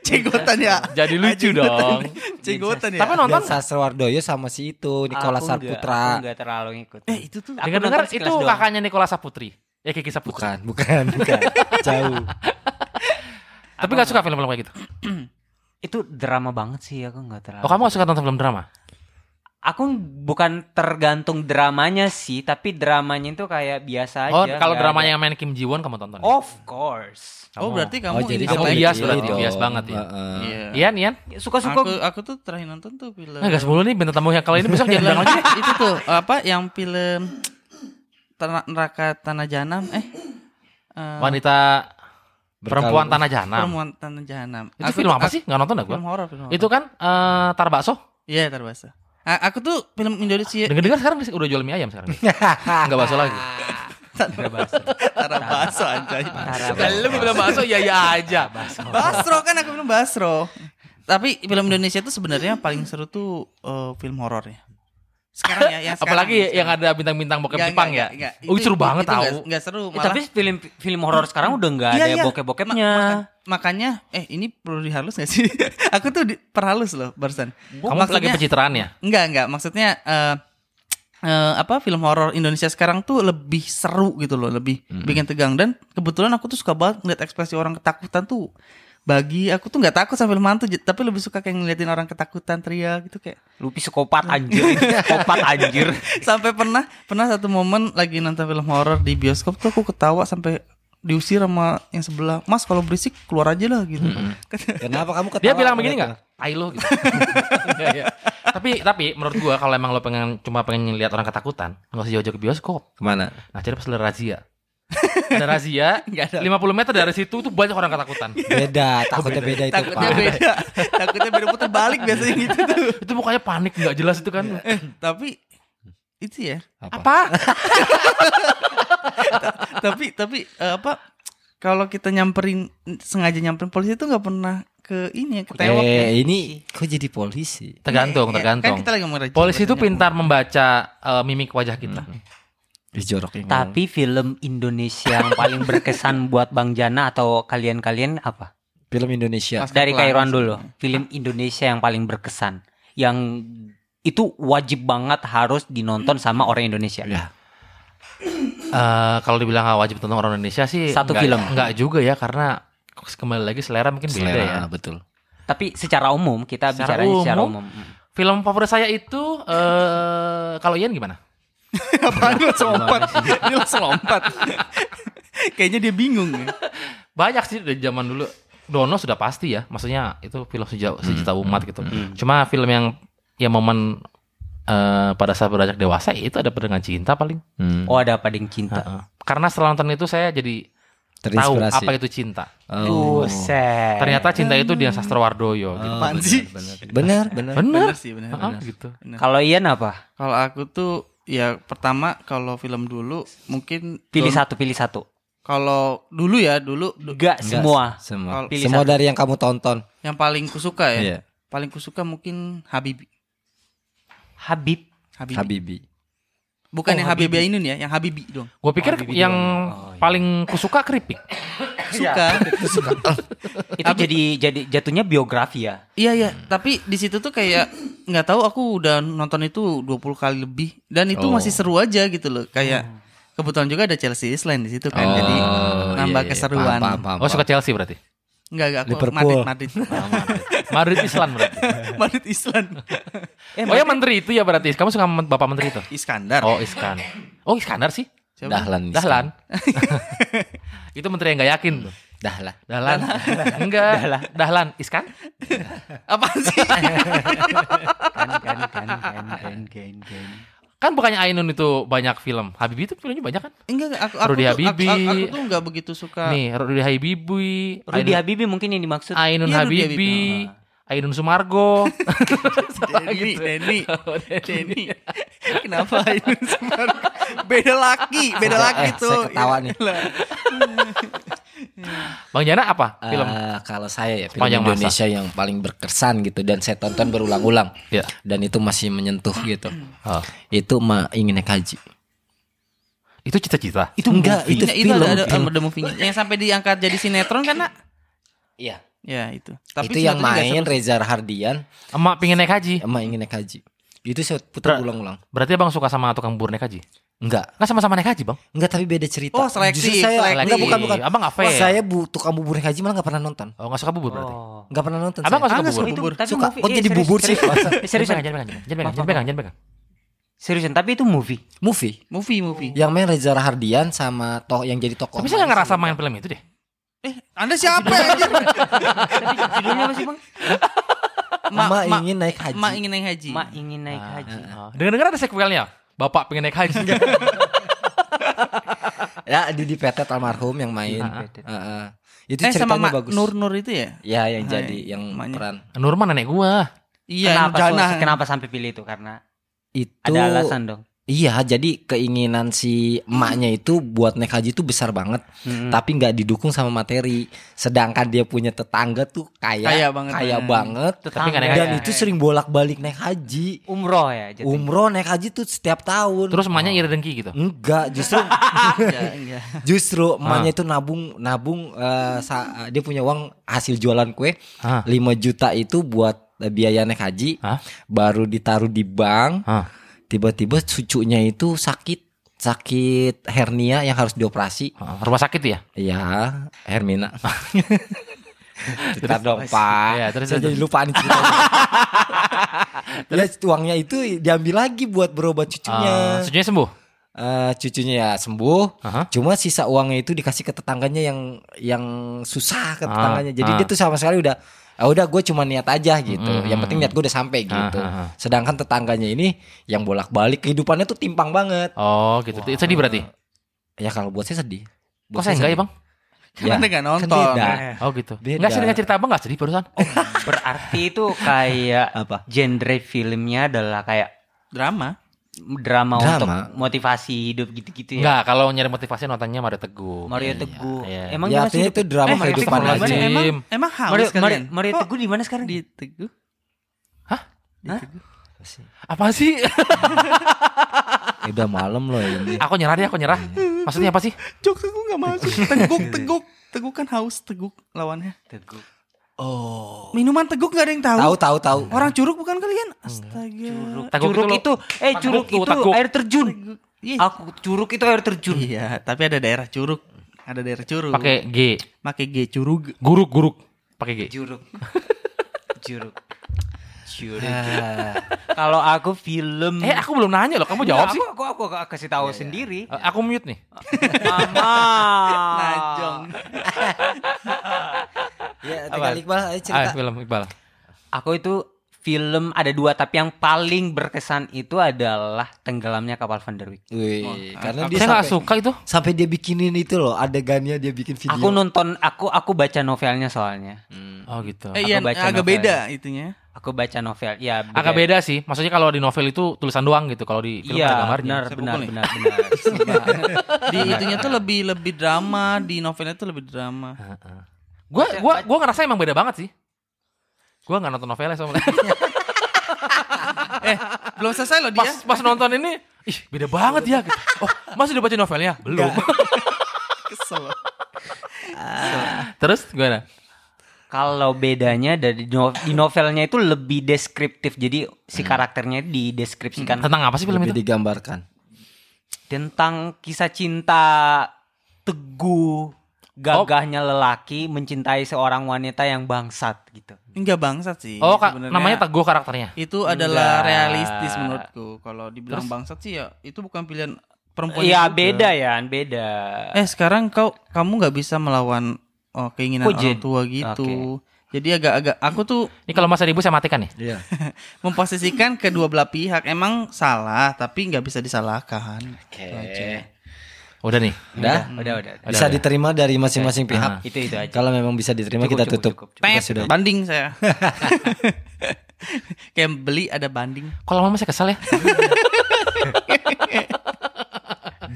S3: Cegotan ya.
S1: jadi lucu dong Iya,
S3: Cegotan ya.
S1: tapi nonton
S2: Dian Sastro Wardoyo sama si itu Nikola
S4: Aku
S2: Saputra.
S4: Enggak, aku enggak terlalu ngikut.
S3: Eh itu tuh.
S4: Aku
S1: dengar dengar
S4: nonton sekilas
S1: itu
S4: doang.
S1: kakaknya Nikola Saputri ya Kiki Saputri
S2: Bukan, bukan, bukan. Jauh.
S1: tapi nggak suka film-film kayak gitu
S4: Itu drama banget sih aku nggak terlalu.
S1: oh kamu nggak suka nonton film drama
S4: Aku bukan tergantung dramanya sih, tapi dramanya itu kayak biasa aja.
S1: oh kalau
S4: nggak
S1: dramanya
S4: ada- Oh.
S1: yang main Kim Ji Won kamu tonton
S4: Of course.
S3: Oh berarti
S2: Oh,
S3: kamu ya?
S2: jadi
S1: kamu
S2: jelek
S1: bias
S2: gitu
S1: berarti,
S2: dong.
S1: bias banget ya.
S2: Heeh.
S3: Iya.
S1: Ian Ian
S4: Suka-suka
S3: Aku aku tuh terakhir nonton tuh film.
S1: nggak gas mulu nih bintang tamu yang kalau ini besok jangan
S3: Film
S1: bilang lagi
S3: itu tuh apa yang film Tena- neraka tanah jahanam eh eh,
S1: wanita perempuan tanah jahanam
S3: perempuan tanah jahanam
S1: itu
S3: Aku-
S1: film apa
S3: aku-
S1: sih nggak nonton dah gua
S3: film horor film horor.
S1: itu kan eh tar bakso
S3: iya terbahasa A- aku tuh film Indonesia
S1: dengar dengar sekarang udah jual mie ayam sekarang nggak bakso lagi
S3: Tara Basro anjay.
S4: Tara
S1: Lah, lu bilang bakso ya ya aja
S3: Basro kan aku bilang Basro. Tapi film Indonesia tuh sebenarnya paling seru tuh eh, film horor ya. Sekarang Iya, ya yang sekarang,
S1: apalagi yang ada bintang-bintang bokep Jepang ya oh seru banget tahu
S3: Enggak seru
S4: Eh,
S3: malah.
S4: tapi film film horor sekarang udah nggak
S3: Iya,
S4: ada
S3: iya.
S4: bokep-bokepnya.
S3: Ma- maka- makanya eh ini perlu dihalus gak sih? aku tuh di- perhalus loh barusan.
S1: kamu lagi pencitraan ya
S3: Enggak, enggak. Maksudnya eh eh, apa film horor Indonesia sekarang tuh lebih seru gitu loh, lebih bikin tegang dan kebetulan aku tuh suka banget ngeliat ekspresi orang ketakutan tuh. Bagi aku tuh nggak takut sama film hantu, j- tapi lebih suka kayak ngeliatin orang ketakutan teriak gitu kayak.
S4: Lupi psikopat
S3: Hmm.
S4: anjir, itu psikopat anjir.
S3: Sampai pernah pernah satu momen lagi nonton film horor di bioskop tuh aku ketawa sampai diusir sama yang sebelah. Mas kalau berisik keluar aja lah gitu.
S2: Kenapa kamu ketawa?
S1: dia bilang begini nggak tai lo gitu. Iya, iya. tapi tapi menurut gua kalau emang lo pengen cuma pengen lihat orang ketakutan nggak usah jauh-jauh ke bioskop
S2: Kemana?
S1: nah cari pas ada razia ada razia 50 meter dari situ tuh banyak orang ketakutan
S2: Beda, takutnya beda itu,
S3: Takutnya
S2: Pak.
S3: beda, takutnya beda putar balik biasanya gitu tuh.
S1: itu mukanya panik nggak jelas itu kan
S3: Tapi itu ya.
S1: apa
S3: tapi tapi eh, apa kalau kita nyamperin sengaja nyamperin polisi itu nggak pernah ke ini ya, ke tewok ya.
S2: Eh, ini kok jadi polisi?
S1: tergantung
S3: Iya,
S1: tergantung
S3: kan kita lagi ngomongin
S1: polisi itu
S3: rasanya.
S1: pintar membaca eh, mimik wajah kita
S2: Ih, jorok ini.
S4: Tapi film Indonesia yang paling berkesan buat Bang Jana atau kalian-kalian apa?
S2: film Indonesia.
S3: Pas
S4: Dari
S3: kelar.
S4: Kairuan dulu. Film Indonesia yang paling berkesan, yang itu wajib banget harus dinonton sama orang Indonesia.
S2: Ya.
S1: Eh, kalau dibilang nggak wajib tentang orang Indonesia sih
S4: Satu
S1: nggak-
S4: film.
S1: nggak juga ya karena kembali lagi selera mungkin beda ya
S2: Selera, betul.
S4: Tapi secara umum kita
S1: Secara
S4: bicara secara
S1: umum?
S4: umum. Mm.
S1: film favorit saya itu eh kalau Ian gimana
S3: Apaan lu langsung lompat dia langsung lompat kayaknya dia bingung ya.
S1: banyak sih dari zaman dulu Dono sudah pasti ya maksudnya itu film sejauh sejuta umat gitu cuma film yang ya momen eh, pada saat beranjak dewasa itu ada dengan cinta paling
S2: Hmm.
S4: Oh ada Pading Cinta.
S1: Heeh. karena setelah nonton itu saya jadi tahu
S2: Terinspirasi.
S1: apa itu cinta
S2: Oh.
S4: Buset.
S1: ternyata cinta itu dia Sastrowardoyo gitu.
S3: Apaan sih?
S2: Benar, benar.
S1: bener,
S3: Bener sih bener,
S1: Heeh,
S3: bener.
S1: gitu
S4: Kalau Ian apa?
S3: kalau aku tuh ya pertama kalau film dulu mungkin
S4: Pilih
S3: don-
S4: satu, pilih satu.
S3: kalau dulu ya dulu du-
S4: Enggak semua.
S2: Semua.
S3: Kalau-
S4: Pilih
S2: Semua dari yang kamu tonton.
S3: yang paling kusuka
S1: Eh,
S3: ya
S2: Iya.
S3: paling kusuka mungkin Habibi
S4: Habib.
S3: Habibi,
S2: Habibi.
S3: bukan
S1: Oh,
S3: yang Habibi Ainun ya yang Habibi dong
S2: Iya.
S1: gue pikir yang paling kusuka keripik
S3: suka
S4: Itu jadi jadi jatuhnya biografi ya.
S3: Iya iya, tapi di situ tuh kayak nggak tahu aku udah nonton itu 20 kali lebih dan itu
S2: Oh.
S3: masih seru aja gitu loh. Kayak kebetulan juga ada Chelsea Island di situ kan. Jadi
S2: Oh,
S3: nambah
S2: iya, iya.
S3: keseruan.
S2: Paham, paham, paham,
S1: oh suka
S2: paham.
S1: Chelsea berarti
S3: Enggak enggak aku
S2: Liverpool.
S3: Madrid Madrid.
S1: Madrid Islam berarti
S3: Madrid Island.
S1: oh ya menteri itu ya berarti kamu suka men- bapak menteri itu
S3: Iskandar.
S1: oh Iskandar oh Iskandar sih
S3: Siapa?
S2: Dahlan.
S1: Dahlan. itu menteri yang gak yakin tuh.
S2: Dahlan.
S1: Dahlan. Enggak.
S4: Dahlan.
S1: Dahlan. Iskan?
S3: Apa sih?
S4: Kan kan kan kan kan kan. kan.
S1: Kan bukannya Ainun itu banyak film. Habibie itu filmnya banyak kan?
S3: Enggak enggak, aku aku
S1: Rudy
S3: tuh,
S1: Habibi.
S3: aku, aku tuh enggak begitu suka.
S1: Nih, Rudy Habibie,
S4: Rudy
S1: Ainun,
S4: Habibie mungkin yang dimaksud.
S1: Ainun
S3: Iya, Rudy
S1: Habibie, Ainun Sumargo.
S3: Gitu. Denny, Denny, Denny. Kenapa itu beda laki, beda laki
S2: Eh,
S3: tuh. iya.
S2: saya ketawa nih.
S1: Bang Jana apa film?
S2: Eh, kalau saya ya film
S1: Sepanjang masa.
S2: Indonesia yang paling berkesan gitu dan saya tonton berulang-ulang
S1: Ya.
S2: dan itu masih menyentuh gitu
S1: Oh.
S2: itu ma ingin naik haji
S1: Itu Iya, cita-cita.
S2: itu enggak itu
S3: Nah, itu
S2: film,
S3: ada, ada,
S2: film.
S3: ada movie-nya. Yang sampai diangkat jadi sinetron kan, Nak?
S2: Iya.
S3: Ya, itu.
S2: itu yang
S3: sinetronnya nggak
S2: main
S3: seru.
S2: Reza Hardian
S1: Emak pingin naik haji.
S2: ma ingin naik haji itu saya putar ulang-ulang
S1: Berarti abang suka sama tukang bubur naik haji?
S2: enggak
S1: Nggak sama-sama naik haji bang?
S2: enggak tapi beda cerita
S3: Oh, seleksi,
S2: Justru saya
S3: seleksi.
S2: enggak bukan bukan
S1: Abang nggak fair.
S2: saya bu tukang bubur naik haji malah enggak pernah nonton
S1: Oh nggak suka bubur berarti?
S4: Oh.
S2: enggak pernah nonton
S1: Abang nggak
S2: saya.
S1: suka
S3: Ah, nggak
S1: bubur?
S3: suka bubur.
S4: Tapi
S2: Suka.
S4: movie-
S2: Kok
S4: eh,
S2: jadi
S4: serius,
S2: bubur sih?
S4: serius.
S1: Jangan
S4: Serius,
S1: pegang, jangan pegang, jangan pegang, jangan pegang, jangan pegang.
S4: seriusan, tapi itu movie.
S2: movie
S3: Movie, movie.
S2: yang main Reza Hardian sama toh yang jadi tokoh
S1: Tapi saya nggak ngerasa main film itu deh.
S3: Anda siapa ya?
S4: Tapi judulnya apa sih, Bang?
S2: Ma, ingin naik haji
S3: Ma ingin naik haji.
S4: Mak ingin naik haji.
S1: Oh, Dengar-dengar ada sequelnya. Bapak pengen naik haji.
S2: ya Didi Petet almarhum yang main
S4: Petet.
S2: Heeh. itu
S3: Ah, eh sama
S2: ceritanya
S3: Ma
S2: bagus
S3: Nur Nur itu ya?
S2: ya yang
S3: Ah,
S2: jadi
S3: iya.
S2: yang
S3: Emaknya.
S2: peran
S1: Nurman nenek gua.
S3: Iya,
S4: kenapa,
S3: Nur Jana.
S4: so- kenapa sampai pilih itu? Karena
S2: itu
S4: ada alasan dong.
S2: iya jadi keinginan si emaknya itu buat naik haji itu besar banget
S4: Mm-mm.
S2: tapi nggak didukung sama materi sedangkan dia punya tetangga tuh kaya
S3: Kaya banget.
S2: kaya
S3: Hmm.
S2: banget
S1: Tapi nggak naik
S2: dan
S1: haji.
S2: itu sering bolak-balik naik haji
S4: umroh ya. Jadi.
S2: umroh naik haji tuh setiap tahun
S1: Terus emaknya iri dengki gitu.
S2: enggak justru
S3: Enggak, enggak.
S1: Ah.
S2: Justru emaknya itu nabung nabung eh, sa- dia punya uang hasil jualan kue
S1: Hah?
S2: 5 juta itu buat eh, biaya naik haji.
S1: Hah?
S2: Baru ditaruh di bank.
S1: Hah?
S2: Tiba-tiba cucunya itu sakit sakit hernia yang harus dioperasi.
S1: Ah, Rumah sakit ya?
S2: Ya, Hermina. Bentar dong, Pak.
S1: Iya, Ah, terus-
S2: Saya
S1: terus.
S2: jadi lupa nih ceritanya. ya, uangnya itu diambil lagi buat berobat
S1: Ah,
S2: cucunya.
S1: Cucunya sembuh.
S2: Eh, cucunya ya sembuh.
S1: Aha.
S2: Cuma sisa uangnya itu dikasih ke tetangganya yang yang susah ke
S1: Ah,
S2: tetangganya. Jadi
S1: ah. Hmm,
S2: dia tuh sama sekali udah ah udah gue cuma niat aja gitu. Yang penting niat gue udah sampai gitu.
S1: ah, ah.
S2: Sedangkan tetangganya ini yang bolak-balik kehidupannya tuh timpang banget.
S1: Oh gitu. Itu Sedih berarti.
S2: Ya kalau buat saya sedih. Nah,
S1: Kok
S2: Buat
S1: saya enggak ya bang?
S2: sedih.
S3: Karena enggak nonton.
S2: Kan beda.
S4: Eh,
S1: Oh gitu.
S2: Beda.
S1: Enggak sih dengan cerita abang enggak sedih barusan.
S4: Berarti itu kayak
S2: Apa?
S4: genre filmnya adalah kayak
S3: Drama.
S2: Kan Drama.
S4: drama, untuk motivasi hidup gitu-gitu ya.
S1: Enggak, kalau nyari motivasi nontonnya Mario Teguh.
S4: Mario Teguh.
S1: iya.
S2: ya
S4: Emang dia masih
S2: artinya
S4: hidup?
S2: itu drama
S1: Eh,
S2: kehidupan
S1: Mario
S2: aja.
S1: Teguh.
S3: Emang,
S1: Jim.
S3: emang haus
S4: Mario, Mario,
S3: kalian?
S4: Mario
S3: Kok
S4: Teguh di mana sekarang?
S3: di Teguh?
S1: Apa sih?
S2: Udah malam loh ini.
S1: aku nyerah deh, aku nyerah.
S2: Iya.
S1: Maksudnya apa sih?
S3: Jok Teguh gak masuk. Teguk, teguk. Teguk kan haus, teguk lawannya.
S4: Teguh.
S2: Oh.
S3: Minuman teguk gak ada yang tahu.
S2: Tahu tahu tahu.
S3: Orang curug bukan kalian? Astaga. Curug.
S1: Teguk
S4: curug
S1: itu lo-
S4: itu, eh
S1: Teguk
S4: curug
S1: gitu tuh,
S4: itu
S1: teguk.
S4: air terjun.
S3: Iya.
S4: Aku curug itu air terjun.
S3: Iya, tapi ada daerah curug. Ada daerah curug.
S1: Pakai G.
S3: pakai G curug.
S1: Guruk-guruk. Pakai G.
S4: Juruk. Juruk. Juruk. Kalau aku film Iya,
S1: Eh, aku belum nanya loh. Kamu jawab
S4: Aku-
S1: sih.
S4: Aku aku, aku kasih tahu sendiri.
S1: Eh, Aku mute nih.
S4: Mama.
S3: Ah. Najong.
S2: Ya, tinggal Iqbal ayo cerita.
S1: Ah, film Iqbal.
S4: Aku itu film ada dua tapi yang paling berkesan itu adalah tenggelamnya kapal Van der Wijk.
S2: Wih, karena dia
S1: Saya nggak
S2: sampai,
S1: suka itu.
S2: sampai dia bikinin itu loh adegannya dia bikin video. Hmm.
S4: Aku nonton aku aku baca novelnya soalnya.
S1: Oh gitu.
S3: Eh,
S4: Aku
S3: iya,
S4: baca
S3: agak
S4: novel.
S3: beda itunya.
S4: Aku baca novel.
S3: Ah,
S4: Ya
S1: Agak beda sih. Maksudnya kalau di novel itu tulisan doang gitu. Kalau di film ada
S4: Iya,
S1: gambarnya.
S4: benar,
S3: Saya
S4: benar,
S3: pukul nih.
S4: benar, benar,
S3: Di itunya tuh lebih lebih drama, di novelnya tuh lebih drama.
S4: Ah.
S1: Gua gua gua ngerasa emang beda banget sih. Gua nggak nonton novelnya soalnya.
S3: Belum selesai loh dia.
S1: pas pas nonton ini, ih beda banget ya. gitu. Oh, masih udah baca novelnya? Belum.
S3: Kesel.
S1: Terus gimana?
S4: Kalau bedanya dari no- di novelnya itu lebih deskriptif. Jadi
S1: Hmm.
S4: si karakternya dideskripsikan
S1: Tentang apa sih film
S2: lebih
S1: itu?
S2: digambarkan.
S4: tentang kisah cinta teguh gagahnya lelaki mencintai seorang wanita yang bangsat gitu.
S3: Enggak bangsat sih.
S1: Oh, ka-
S3: sebenarnya.
S1: namanya Teguh karakternya.
S3: itu adalah
S4: Enggak.
S3: realistis menurutku. Kalau dibilang bangsat sih ya itu bukan pilihan perempuan.
S4: Iya
S3: juga.
S4: beda ya, beda.
S3: Eh sekarang kau kamu nggak bisa melawan oh, keinginan orang
S4: Kok jadi?
S3: tua gitu. Jadi agak-agak aku tuh
S1: Ini kalau masa ibu saya matikan nih.
S2: Iya.
S3: memposisikan kedua belah pihak emang salah tapi nggak bisa disalahkan.
S2: Oke.
S1: Udah nih.
S2: Udah?
S3: Iya.
S4: udah, udah. udah.
S2: Bisa diterima dari masing-masing pihak.
S4: Ah. Itu itu aja.
S2: Kalau memang bisa diterima kita tutup. Kita sudah.
S3: Banding saya. Kayak beli ada banding.
S1: Kalau mama saya kesal ya.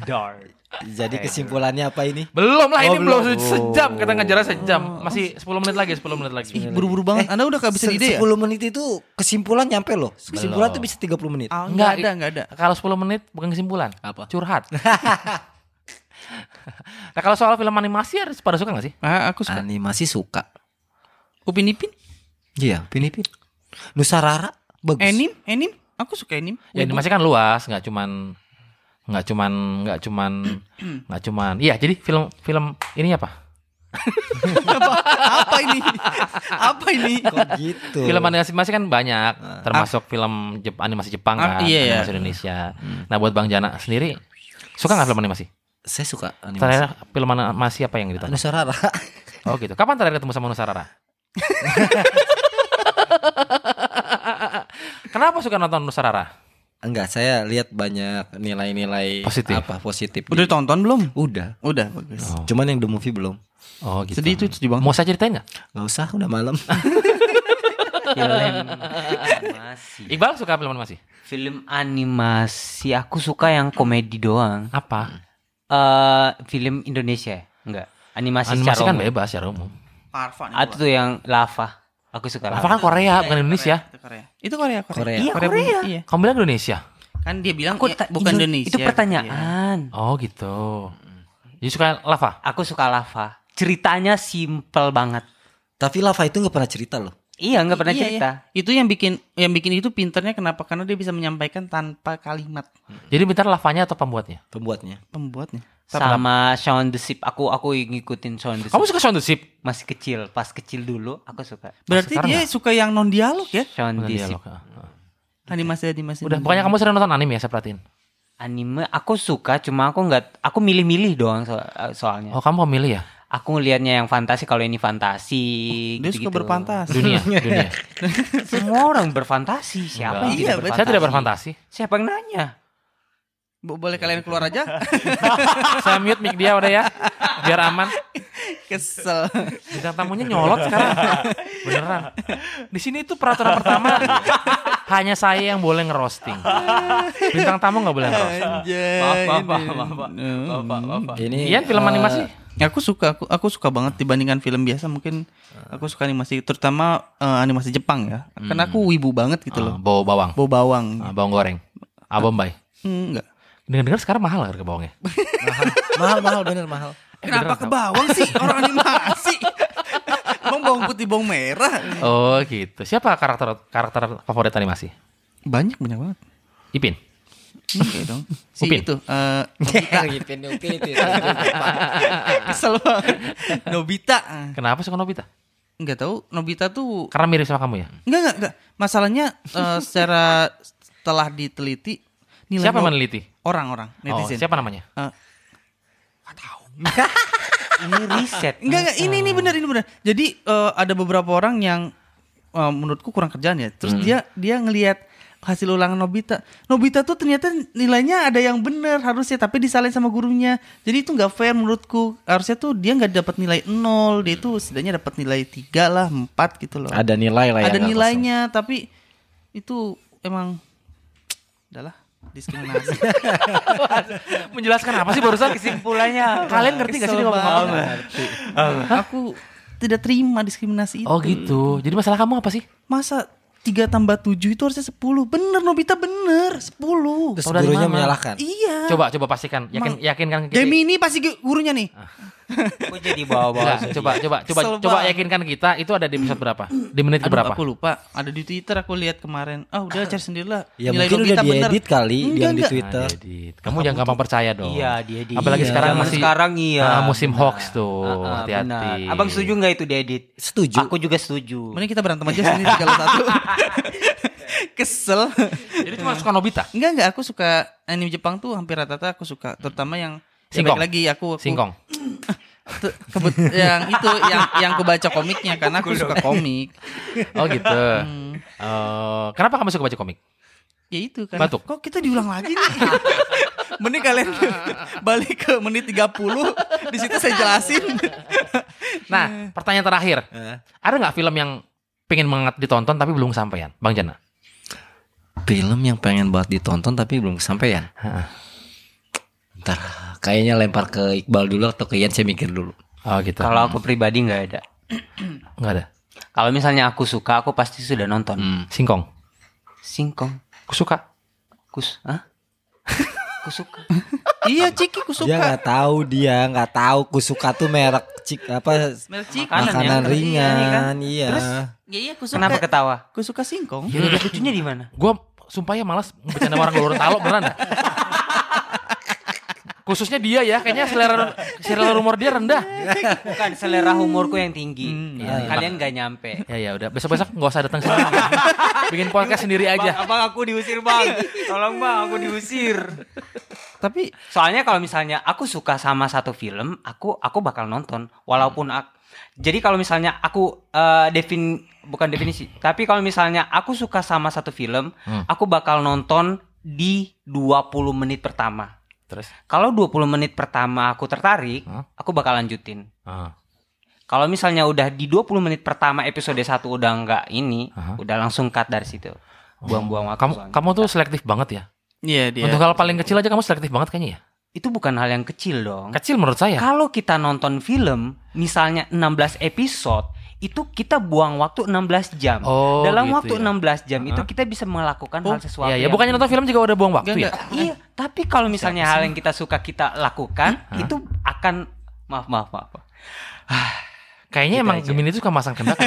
S4: Dark.
S2: Jadi kesimpulannya apa ini?
S1: Belum lah ini belum sejam kita ngejar sejam. Masih 10 menit lagi, 10 menit lagi.
S3: Buru-buru banget. Eh, Anda udah
S2: Eh, Se-
S3: kehabisan ide ya?
S2: 10 menit itu kesimpulan nyampe loh. Kesimpulan tuh bisa 30 menit.
S3: Ah,
S1: Nggak,
S3: enggak ada, enggak ada.
S1: Kalau 10 menit bukan kesimpulan.
S2: Apa?
S1: Curhat. nah kalau soal film animasi harus pada suka gak sih?
S3: Ah, aku suka.
S2: Animasi suka.
S3: Upin Ipin,
S2: Iya, pinipin. Nusa Rara bagus.
S3: Enim, Enim. Aku suka Enim.
S1: Ya animasi kan luas, nggak cuman nggak cuman nggak cuman nggak cuman. Iya jadi film film ini apa?
S3: Apa ini? Apa ini?
S2: Kok gitu.
S1: Film animasi kan banyak, termasuk film Jep- animasi Jepang
S3: Ah,
S1: kan,
S3: iya, iya.
S1: animasi Indonesia. Nah buat Bang Jana sendiri suka nggak film animasi?
S2: Saya suka animasi.
S1: Terakhir film animasi apa yang ditonton?
S2: Nusa Rara.
S1: Oh gitu. Kapan terakhir ketemu sama Nusarara? Kenapa suka nonton Nusarara?
S2: Enggak, saya lihat banyak nilai-nilai
S1: Positif.
S2: apa positif.
S3: Udah
S2: di-
S3: tonton belum?
S2: Udah.
S3: Udah, bagus.
S1: Oh.
S2: Cuman yang the movie belum.
S1: Oh gitu.
S3: Sedih itu sedih banget.
S1: Mau saya ceritain nggak?
S2: Gak usah, udah malam.
S4: Film animasi.
S1: Iqbal suka film animasi?
S4: Film animasi aku suka yang komedi doang.
S1: Apa?
S4: Eh film Indonesia ya? Enggak. Animasi,
S1: Animasi
S4: secara
S1: kan
S4: umum.
S1: bebas secara umum.
S3: Parvan.
S4: Atau tuh yang lava. Aku suka
S1: Apa
S4: lava.
S1: kan Korea bukan Indonesia?
S3: Itu Iya, Korea. Itu Korea, Korea.
S2: Korea.
S3: Iya, Korea. Korea. Iya.
S1: Kamu bilang Indonesia?
S3: Kan dia bilang
S4: Aku
S3: ya,
S4: ta-
S3: bukan
S4: itu-
S3: Indonesia. ya.
S4: Itu pertanyaan. Ah,
S1: Oh gitu. Jadi suka lava?
S4: Aku suka lava. Ceritanya simple banget.
S2: Tapi Lava itu nggak pernah cerita loh.
S4: Iya, nggak pernah
S3: Iya, iya.
S4: cerita.
S3: Itu yang bikin yang bikin itu pinternya kenapa? Karena dia bisa menyampaikan tanpa kalimat
S1: Jadi bentar lavanya atau pembuatnya?
S2: Pembuatnya.
S3: pembuatnya.
S4: Sama Shaun the Sheep. Aku aku ngikutin Shaun the Sheep.
S1: Kamu suka Shaun the Sheep?
S4: Masih kecil, pas kecil dulu aku suka.
S3: Berarti
S1: sekarang
S3: dia suka yang non dialog ya?
S1: Bukan
S4: Shaun the Sheep.
S1: dialog. Ah, ah.
S3: Animasi animasi.
S1: Udah, pokoknya kamu sering nonton anime ya saya perhatiin.
S4: Anime aku suka, cuma aku nggak aku milih-milih doang so- eh, soalnya.
S1: Oh kamu pemilih ya?
S4: Aku ngelihatnya yang fantasi kalau ini fantasi.
S3: dia suka
S4: gitu-gitu.
S3: berfantasi.
S1: Dunia, dunia.
S4: Semua orang berfantasi.
S1: Enggak.
S4: Siapa yang
S3: Iya,
S4: tidak
S1: Saya tidak berfantasi.
S4: Siapa yang nanya?
S3: Bo- Boleh kalian keluar aja?
S1: Saya mute mic dia udah ya, biar aman.
S3: Kesel.
S1: Bintang tamunya nyolot sekarang. Beneran. Di sini itu peraturan pertama hanya saya yang boleh ngerosting. Bintang tamu nggak boleh ngerosting.
S3: Anjay.
S4: Maaf, maaf, maaf,
S3: ini. Hmm.
S4: maaf, maaf. Maaf, maaf, maaf, maaf.
S2: Ini
S3: iya,
S1: Ian Iya, film
S2: eh,
S1: animasi?
S3: Ya, Aku suka aku aku suka banget dibandingkan film biasa mungkin aku suka animasi terutama eh, animasi Jepang ya. Karena
S4: Hmm.
S3: aku wibu banget gitu
S1: Ah,
S3: loh.
S1: bau bawang,
S3: Bau bawang.
S1: Ah, bawang goreng, abon bay.
S3: Hmm, Enggak.
S1: Dengar-dengar sekarang mahal harga bawangnya.
S2: mahal mahal bener mahal.
S3: Eh, Kenapa ke bawang sih orang animasi? Emang bawang putih, bawang merah.
S1: Oh gitu. Siapa karakter karakter favorit animasi?
S3: Banyak banyak banget.
S1: Ipin.
S3: Oke Hmm, iya dong. Si
S1: Upin. Iya,
S3: itu eh,
S2: Ngipin, ngipin itu, itu, itu.
S3: kesel banget. Nobita.
S1: Kenapa suka Nobita?
S3: Enggak tahu Nobita tuh
S1: Karena mirip sama kamu ya.
S3: enggak enggak enggak. Masalahnya eh, secara setelah diteliti nilai
S1: Siapa
S3: no-
S1: yang meneliti?
S3: orang-orang
S1: Oh,
S3: netizen.
S1: siapa namanya?
S3: Eh,
S4: Ini riset.
S3: Enggak, enggak, ini ini benar ini benar. Jadi eh, ada beberapa orang yang eh, menurutku kurang kerjaan ya.
S2: Hmm.
S3: Terus dia dia ngelihat hasil ulangan Nobita. Nobita tuh ternyata nilainya ada yang benar harusnya tapi disalahin sama gurunya. Jadi itu nggak fair menurutku. Harusnya tuh dia nggak dapat nilai 0, dia tuh setidaknya dapat nilai 3 lah, 4 gitu loh.
S2: Ada nilai lah ya, yang
S3: Ada
S2: nggak
S3: nilainya tapi itu emang adalah diskriminasi.
S1: Menjelaskan apa sih barusan?
S4: Kesimpulannya
S1: Kalian ngerti gak sih dia ngomong apa?
S3: Aku tidak terima diskriminasi itu.
S1: Oh gitu. Jadi masalah kamu apa sih?
S3: Masa 3 tambah 7 itu harusnya 10 Bener Nobita bener 10
S2: Terus
S1: Tahu dari
S2: gurunya
S1: mana?
S2: menyalahkan.
S3: Iya
S4: Eh.
S1: Coba coba pastikan. Yakin yakinkan kita.
S3: Gemini pasti gu- gurunya nih
S2: Ah.
S4: Aku jadi bawa-bawa.
S1: Enggak, coba coba coba
S3: Kesel
S1: coba
S3: banget.
S1: yakinkan kita itu ada di episode berapa? Di menit
S3: Aduh,
S1: ke berapa?
S3: aku lupa Ada di Twitter aku lihat kemarin Ah udah cari sendirilah
S2: Ya mungkin udah diedit kali
S3: Enggak,
S2: yang di
S3: enggak.
S2: Twitter.
S1: Edit. Nah, Kamu jangan gampang percaya dong.
S4: Iya, dia edit.
S1: Apalagi
S4: Iya.
S1: sekarang
S4: Zaman
S1: masih
S4: sekarang iya,
S1: Ah, musim
S4: benar.
S1: hoax tuh.
S4: Ah, ah,
S1: Hati-hati.
S4: benar. Abang setuju nggak itu diedit?
S2: Setuju.
S4: Aku juga setuju.
S3: Mending kita berantem aja sini tiga lawan satu Kesel
S1: Jadi cuma suka Nobita.
S3: Enggak enggak aku suka anime Jepang tuh hampir rata-rata aku
S2: Hmm.
S3: suka Terutama yang ya,
S1: Singkong.
S3: balik lagi aku, aku
S1: Singkong.
S3: te- kebut- yang itu yang yang aku baca komiknya karena aku suka komik
S1: Oh gitu.
S4: Hmm.
S1: Oh, kenapa kamu suka baca komik?
S3: Ya itu kan.
S1: Batuk.
S3: Kok kita diulang lagi nih? Mending kalian balik ke menit 30 di situ saya jelasin.
S4: Hmm.
S1: Nah, pertanyaan terakhir.
S4: Eh.
S1: Ada nggak film yang pengen banget ditonton tapi belum sampean, Bang Jana?
S2: Film yang pengen banget ditonton tapi belum kesampaian. Bentar. Kayaknya lempar ke Iqbal dulu atau ke Ian saya mikir dulu.
S1: Oh gitu.
S4: Kalau aku pribadi nggak ada.
S1: Nggak ada.
S4: Kalau misalnya aku suka, aku pasti sudah nonton.
S1: Hmm. Singkong.
S4: Singkong,
S1: Aku suka.
S4: kus, ah? Kusuka.
S3: iya Ciki ku
S2: Dia
S3: suka
S2: nggak tahu dia nggak tahu kusuka tuh merek cik apa
S3: Merek Ciki.
S4: Makanan ya?
S2: makanan
S3: Iya, iya kan?
S2: ringan iya.
S3: Terus ya iya ku suka
S4: Kenapa ketawa?
S3: ku suka singkong
S1: Iya.
S4: Ya udah lucunya di mana?
S1: Gua sumpah ya malas bercanda sama orang luar talok beneran dah. Khususnya dia ya, kayaknya selera selera rumor dia rendah.
S4: Bukan selera humorku yang tinggi.
S1: iya.
S4: Kalian nggak nyampe.
S1: Ya ya udah, besok-besok nggak usah datang sini. Bikin podcast sendiri aja.
S4: Bang, abang aku diusir bang. Tolong bang, aku diusir.
S3: tapi
S4: Soalnya kalau misalnya aku suka sama satu film, aku aku bakal nonton walaupun
S1: Hmm.
S4: ak- jadi kalau misalnya aku eh, defin bukan definisi, tapi kalau misalnya aku suka sama satu film,
S1: Hmm.
S4: aku bakal nonton di 20 menit pertama.
S1: Terus
S4: Kalau 20 menit pertama aku tertarik,
S1: Hah?
S4: aku bakal lanjutin.
S1: ah,
S4: Kalau misalnya udah di 20 menit pertama episode 1 udah enggak ini,
S1: Aha.
S4: udah langsung cut dari situ. Buang-buang
S1: Hmm. Oh.
S4: waktu.
S1: kamu
S4: soalnya.
S1: kamu tuh selektif banget ya.
S3: iya dia
S1: Untuk hal paling kecil aja kamu selektif banget kayaknya ya.
S4: Itu bukan hal yang kecil dong.
S1: Kecil ya? menurut saya.
S4: Kalau kita nonton film, misalnya 16 episode, itu kita buang waktu 16 jam.
S1: Oh,
S4: Dalam
S1: gitu
S4: waktu
S1: ya.
S4: 16 jam itu kita bisa melakukan hal sesuatu.
S1: Iya ya,
S4: yang-
S1: bukannya nonton film juga udah buang
S3: Enggak,
S1: waktu ya?
S3: enggak.
S4: Iya, tapi kalau misalnya hal yang kita suka kita lakukan, itu akan maaf maaf maaf.
S1: Kayaknya emang Gemini itu suka masang kendak.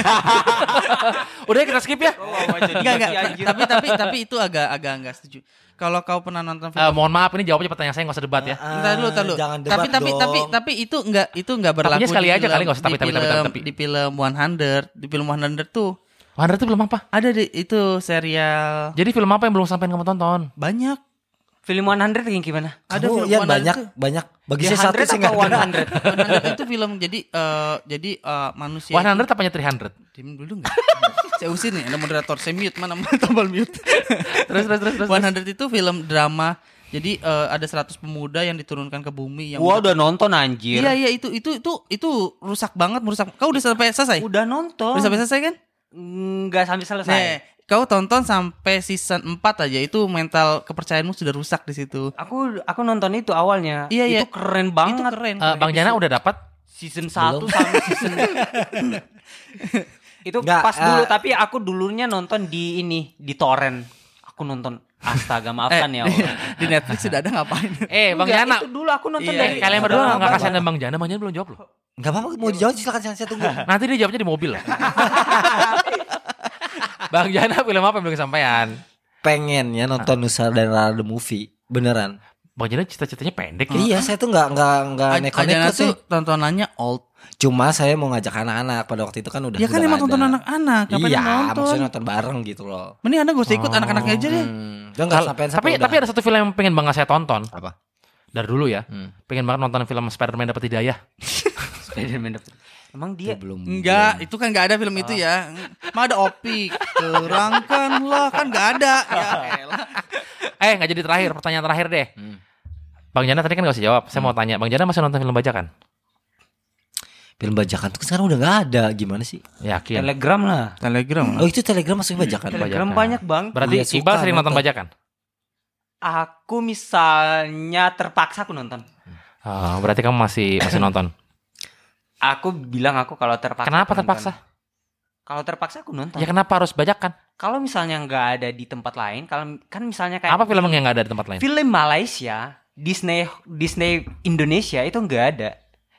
S1: udah kita skip ya.
S3: Enggak, enggak.
S4: Iya,
S3: tapi tapi tapi itu agak agak enggak setuju kalau kau pernah nonton film
S1: Eh, mohon maaf ini jawabnya pertanyaan saya nggak usah debat ya.
S4: Ah,
S3: Entar dulu, entar dulu.
S2: Ah, Jangan debat
S3: tapi tapi
S2: dong.
S3: tapi tapi itu enggak itu enggak berlaku
S1: sekali
S3: di
S1: aja
S3: film-
S1: kali, nggak usah tapi,
S3: di
S1: tapi, tapi, tapi,
S3: film-
S1: tapi.
S3: di film 100, di film 100 tuh
S1: Wander tuh belum apa?
S3: ada di itu serial
S1: Jadi film apa yang belum sampai kamu tonton?
S3: banyak.
S4: Film 100 yang gimana?
S3: Ada
S2: Kamu,
S3: film
S2: Oh, Ian,
S3: 100
S2: banyak
S3: tuh.
S2: banyak bagi
S4: Ya,
S2: saya satu
S4: 100
S2: sih
S4: apa
S2: nggak kenal.
S4: 100?
S3: 100 itu film jadi eh, jadi eh, manusia.
S1: One Hundred apanya Three Hundred?
S3: Diam dulu enggak? saya usir nih, ada moderator. Saya mute mana tombol mute.
S1: Terus terus terus terus.
S3: 100 itu film drama. Jadi eh, ada 100 pemuda yang diturunkan ke bumi yang
S4: Gua udah nonton anjir.
S3: Iya iya itu itu itu itu rusak banget merusak. Kau udah sampai selesai?
S4: iya. Udah nonton.
S3: Udah sampai selesai kan?
S4: Nggak sampai selesai.
S3: Nih, kau tonton sampai season 4 aja itu mental kepercayaanmu sudah rusak di situ.
S4: Aku aku nonton itu awalnya.
S3: Iya, iya.
S4: Itu keren banget.
S3: Itu keren.
S1: Eh, Bang Jana udah dapat?
S4: season 1 sampai season itu
S2: Nggak,
S4: pas dulu
S2: eh.
S4: tapi aku dulunya nonton di ini di torrent aku nonton astaga
S3: Eh,
S4: maafkan ya Allah.
S3: di Netflix sudah ada ngapain?
S1: Eh, Bang
S4: Enggak,
S1: Jana.
S4: itu dulu aku nonton
S3: Iya,
S4: dari
S3: iya.
S1: Kalian berdua nggak kasihan sama Bang Jana, Bang Jana belum jawab loh.
S2: Nggak apa-apa mau dijawab silakan silakan, saya tunggu.
S1: Nanti dia jawabnya di mobil loh. Bang Jana film apa yang belum kesampaian?
S2: Pengennya nonton Nusa dan Rara the Movie beneran.
S1: Bang Jana cita-citanya pendek ya.
S2: Iya saya tuh nggak nggak nggak
S3: Aj- Ajana
S2: neko-neko sih.
S3: tuh tontonannya old.
S2: Cuma saya mau ngajak anak-anak pada waktu itu kan udah.
S3: Ya kan
S2: udah
S3: emang
S2: ada.
S3: tonton anak-anak, ngapain
S2: Iya
S3: nonton?
S2: maksudnya nonton bareng gitu loh.
S3: Mending Anda gak usah ikut anak-anaknya aja deh.
S2: Hmm, dia nggak
S1: Kal-
S2: sampean
S1: tapi tapi ada satu film yang pengen banget saya tonton
S2: apa?
S1: dari dulu ya.
S2: Hmm.
S1: Pengen banget nonton film Spider-Man dapat hidayah.
S4: Spider-Man dapat. Emang
S2: Itu
S4: dia
S2: belum.
S3: Enggak,
S2: iya.
S3: itu kan gak ada film itu ya. Mah ada opik. Terangkanlah kan gak ada. Ya elah.
S1: Eh, nggak jadi terakhir, pertanyaan terakhir deh.
S2: Hmm.
S1: Bang Jana tadi kan gak usah jawab. Saya mau tanya, Bang Jana masih nonton film bajakan?
S2: Film bajakan tuh sekarang udah nggak ada gimana sih?
S1: Yakin.
S4: Telegram lah.
S3: Telegram. lah.
S2: Oh itu telegram masuk bajakan.
S4: Iya, Telegram
S1: Bajakan.
S4: banyak bang.
S1: Berarti ya
S2: Iya, suka
S1: Iqbal sering nonton
S2: nonton.
S1: bajakan?
S4: Aku misalnya terpaksa aku nonton.
S1: Ah, berarti kamu masih masih nonton.
S4: Aku bilang aku kalau terpaksa.
S1: Kenapa
S4: aku nonton.
S1: terpaksa?
S4: Kalau terpaksa aku nonton.
S1: Ya kenapa harus bajakan?
S4: Kalau misalnya nggak ada di tempat lain, kalau kan misalnya kayak
S1: Apa film yang nggak ada di tempat lain?
S4: film Malaysia Disney Disney Indonesia itu nggak ada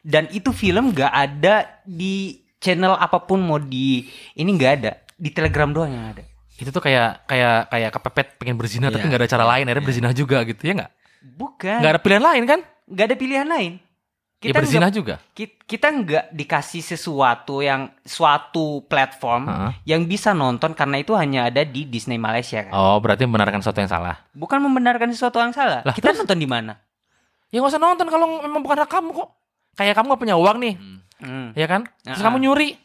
S4: dan itu film nggak ada di channel apapun mau di ini nggak ada di Telegram doang yang ada
S1: Itu tuh kayak kayak kayak kepepet pengen berzina tapi
S2: Iya.
S1: nggak ada cara lain, akhirnya berzina juga gitu ya
S4: Iya.
S1: nggak?
S4: bukan
S1: Nggak ada pilihan lain kan?
S4: nggak ada pilihan lain
S1: ya berzina
S4: nggak-
S1: juga.
S4: ki- kita nggak dikasih sesuatu yang suatu platform
S1: Heeh.
S4: yang bisa nonton karena itu hanya ada di Disney Malaysia kan
S1: Oh, berarti membenarkan sesuatu yang salah.
S4: bukan membenarkan sesuatu yang salah
S1: Lah,
S4: kita nonton di mana
S1: Ya nggak usah nonton kalau memang bukan hak kamu kok. Kayak kamu nggak punya uang nih,
S4: Hmm.
S1: ya kan? Terus
S4: Ah.
S1: kamu nyuri.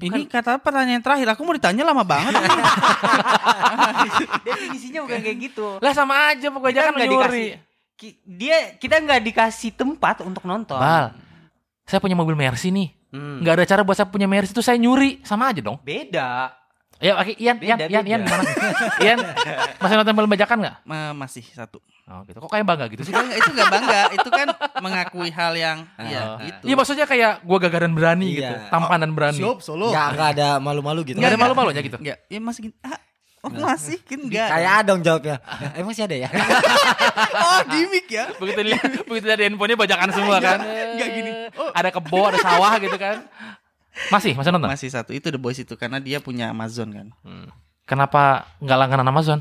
S3: Ini kata pertanyaan terakhir. Aku mau ditanya lama banget.
S4: definisinya bukan kayak gitu
S1: Lah sama aja pokoknya
S4: Kita
S1: kan
S4: nggak
S1: nyuri.
S4: dikasih ki- dia kita nggak dikasih tempat untuk nonton
S1: Bal, saya punya mobil Mercy nih.
S4: Hmm.
S1: Nggak ada cara buat saya punya Mercy itu saya nyuri, sama aja dong.
S4: beda
S1: Ya, oke, Ian, Ian, Ian,
S4: Beda, beda.
S1: Ian, gimana? Ian, masih nonton film bajakan nggak?
S3: Ma- masih satu.
S1: Oh, gitu. Kok kayak bangga gitu sih?
S3: Itu nggak- itu nggak bangga, itu kan mengakui hal yang
S1: Oh.
S3: ya gitu.
S1: Iya, maksudnya kayak gua gagaran berani
S2: Iya.
S1: gitu, tampan
S3: Oh,
S1: dan berani.
S5: Siop solo.
S2: Nggak, Ya, nggak ada malu-malu gitu.
S1: Nggak ada malu-malunya gitu.
S3: Enggak, ya masih gini. Ah, oh masih kan enggak.
S2: Kayak ada dong jawabnya. Emang sih ada ya?
S3: oh gimmick ya.
S1: begitu dilihat begitu dari handphonenya bajakan semua kan
S3: Iya, Nggak gini. Oh.
S1: ada kebo ada sawah gitu kan masih masih nonton
S3: Masih satu itu The Boys itu karena dia punya Amazon kan.
S1: kenapa nggak langganan Amazon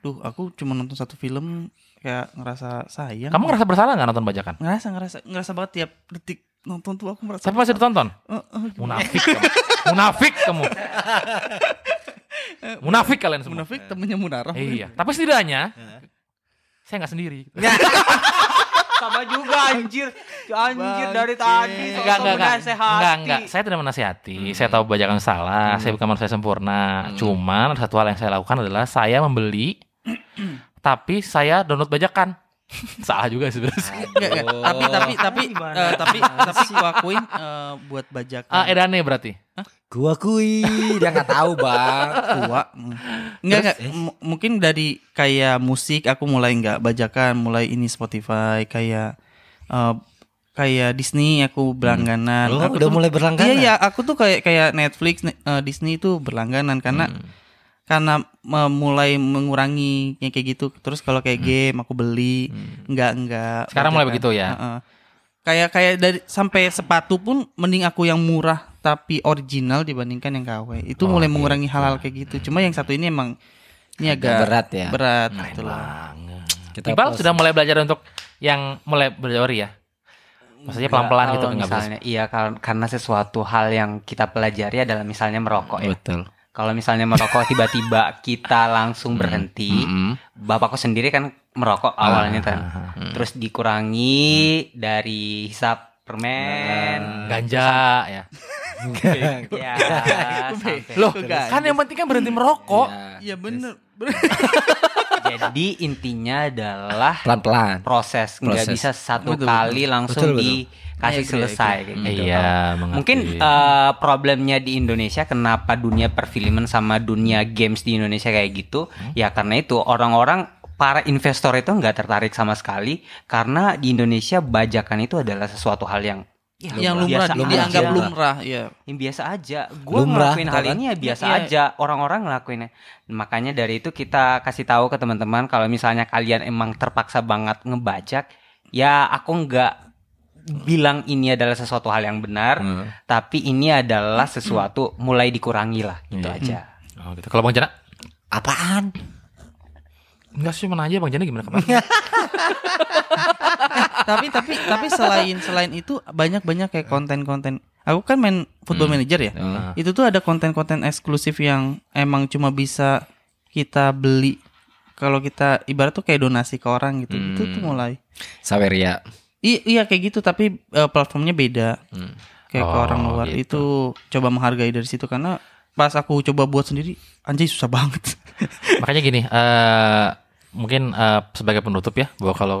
S3: Duh, aku cuma nonton satu film kayak ngerasa sayang.
S1: kamu ngerasa bersalah nggak nonton bajakan
S3: ngerasa ngerasa ngerasa banget tiap detik nonton tuh aku merasa
S1: tapi masih ditonton
S3: Eh, eh,
S1: munafik kamu. munafik kamu munafik kalian semua
S3: munafik temennya Munarah.
S1: iya tapi setidaknya saya nggak sendiri
S4: Sama juga anjir. Anjir dari
S3: Bangke.
S4: tadi
S1: Enggak,
S4: sosok
S1: enggak, enggak.
S4: menasehati.
S1: Enggak, enggak. Saya tidak menasehati.
S2: Hmm.
S1: Saya tahu bajakan salah. Saya bukan manusia sempurna. Cuman ada satu hal yang saya lakukan adalah saya membeli tapi saya download bajakan. salah juga sebenarnya.
S3: Enggak, enggak.
S2: Oh.
S3: Tapi tapi tapi
S4: Gimana?
S3: eh, tapi tapi aku akuin eh, buat bajakan.
S2: Hmm.
S1: Ah, edane berarti.
S2: Gua kui, dia nggak tahu bang.
S1: eh.
S3: tua. Mm. Enggak enggak
S2: eh?
S3: M- mungkin dari kayak musik aku mulai enggak bajakan, mulai ini Spotify kayak eh, kayak Disney aku berlangganan.
S2: Oh,
S3: Aku
S2: udah
S3: tuh-
S2: mulai berlangganan?
S3: Iya, iya, aku tuh kayak kayak Netflix, ne- eh, Disney itu berlangganan karena karena eh, mulai mengurangi yang kayak gitu. Terus kalau kayak game aku beli, enggak enggak.
S1: Sekarang mulai begitu ya?
S3: Heeh. Kayak kayak dari sampai sepatu pun mending aku yang murah tapi original dibandingkan yang KW. Itu mulai mengurangi hal-hal kayak gitu. Cuma yang satu ini emang ini iya. agak
S2: berat ya.
S3: Berat gitu loh.
S2: Kita
S1: Iqbal
S2: pause.
S1: sudah mulai belajar untuk yang mulai berteori ya. Maksudnya pelan-pelan
S4: Kalau
S1: gitu enggak bisa.
S4: misalnya iya kar- karena sesuatu hal yang kita pelajari adalah misalnya merokok ya.
S2: Betul.
S4: Kalau misalnya merokok tiba-tiba kita langsung
S1: Hmm.
S4: berhenti, bapakku sendiri kan merokok
S1: Ah,
S4: awalnya kan.
S1: Hmm.
S4: Terus dikurangi dari
S1: Nah.
S4: hisap permen.
S1: Ganja ya.
S4: Ya, sampai.
S1: Loh,
S3: Ganja.
S1: kan yang penting kan berhenti merokok.
S2: ya.
S3: Iya bener.
S4: Jadi intinya adalah
S2: Pelan-pelan.
S4: proses, nggak
S2: Proses.
S4: bisa satu
S3: Betul,
S4: kali langsung
S2: Betul, betul.
S4: dikasih selesai. kayak gitu.
S1: Iya, mengerti.
S4: Mungkin eh, problemnya di Indonesia kenapa dunia perfilman sama dunia games di Indonesia kayak gitu? Ya karena itu orang-orang para investor itu nggak tertarik sama sekali karena di Indonesia bajakan itu adalah sesuatu hal yang ya,
S3: Yang lumrah,
S4: biasa
S2: lumrah.
S3: dianggap
S4: aja.
S3: lumrah, ya.
S4: Yang biasa aja. Gue
S2: Lumrah,
S4: ngelakuin hal
S2: kan?
S4: ini ya biasa
S3: Iya.
S4: aja. Orang-orang ngelakuinnya. Makanya dari itu kita kasih tahu ke teman-teman kalau misalnya kalian emang terpaksa banget ngebajak, ya aku nggak bilang ini adalah sesuatu hal yang benar,
S1: Hmm.
S4: tapi ini adalah sesuatu mulai dikurangi lah gitu aja.
S1: Oh, gitu. Kalau Bang Jana?
S2: Apaan?
S1: Enggak sih, mana aja Bang Jana gimana kemarin?
S3: tapi tapi tapi selain selain itu banyak banyak kayak konten-konten aku kan main football
S1: Hmm.
S3: manager ya
S1: Ah.
S3: itu tuh ada konten-konten eksklusif yang emang cuma bisa kita beli kalau kita ibarat tuh kayak donasi ke orang gitu itu tuh
S1: Hmm.
S3: mulai
S2: Saweria.
S3: I- iya kayak gitu tapi eh, platformnya beda kayak ke
S1: Oh,
S3: orang luar itu coba menghargai dari situ karena pas aku coba buat sendiri anjay susah banget
S1: Makanya gini, eh mungkin eh, sebagai penutup ya, bahwa kalau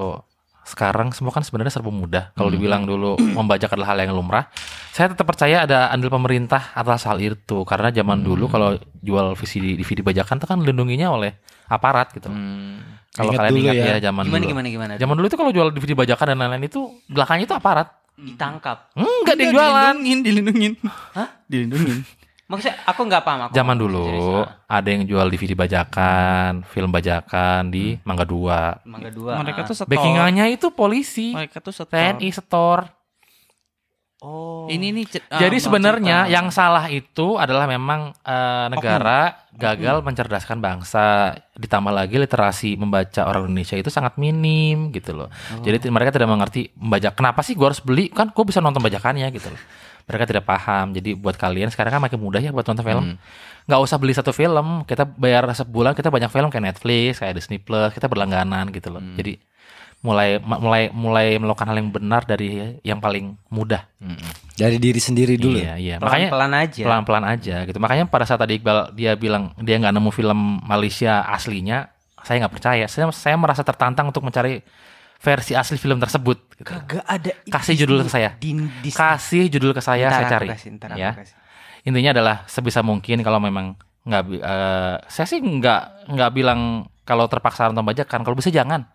S1: sekarang semua kan sebenarnya serba mudah. Kalau dibilang dulu membajak adalah hal yang lumrah, saya tetap percaya ada andil pemerintah atas hal itu karena zaman dulu kalau jual VCD DVD bajakan itu kan dilindunginya oleh aparat gitu. Kalau
S2: Hmm. Ingat
S1: kalian
S2: dulu
S1: ingat ya,
S2: ya.
S1: zaman
S4: Gimana
S1: dulu.
S4: gimana gimana?
S1: Zaman dulu itu kalau jual DVD bajakan dan lain-lain itu belakangnya itu aparat.
S4: Ditangkap.
S1: Enggak dia jualan.
S3: Iya, dilindungin dilindungin hah dilindungin
S4: Maksudnya aku nggak paham aku.
S1: Zaman
S4: nggak paham. Jadi,
S1: dulu
S4: ah,
S1: ada yang jual DVD bajakan, film bajakan di Mangga 2.
S4: Mangga dua.
S3: mereka tuh setor
S1: Backingannya itu polisi.
S3: mereka tuh setor
S1: TNI setor.
S2: Oh.
S3: ini nih cer- ah,
S1: Jadi
S3: mau
S1: sebenarnya
S3: cerita.
S1: yang salah itu adalah memang eh, negara gagal mencerdaskan bangsa. Ditambah lagi literasi membaca orang Indonesia itu sangat minim gitu loh. Jadi ti- mereka tidak mengerti membaca. Kenapa sih gua harus beli? Kan gua bisa nonton bajakannya gitu loh. Mereka tidak paham. Jadi buat kalian sekarang kan makin mudah ya buat nonton film. Nggak usah beli satu film. Kita bayar sebulan kita banyak film kayak Netflix, kayak Disney Plus. Kita berlangganan gitu loh. Jadi mulai ma- mulai mulai melakukan hal yang benar dari yang paling mudah.
S2: Dari diri sendiri dulu.
S1: Iya, iya. Makanya
S4: Pelan-pelan aja.
S1: pelan-pelan aja gitu. Makanya pada saat tadi Iqbal dia bilang dia nggak nemu film Malaysia aslinya, saya nggak percaya. Saya saya merasa tertantang untuk mencari versi asli film tersebut. gitu.
S4: Kagak ada.
S1: Kasih judul ke saya.
S4: Di, di,
S1: Kasih judul ke saya,
S4: Ntar
S1: saya
S4: aku
S1: cari.
S4: kasih, ntar aku
S1: ya.
S4: kasih.
S1: Intinya adalah sebisa mungkin kalau memang nggak bi- eh, saya sih nggak nggak bilang kalau terpaksa nonton bajakan kalau bisa jangan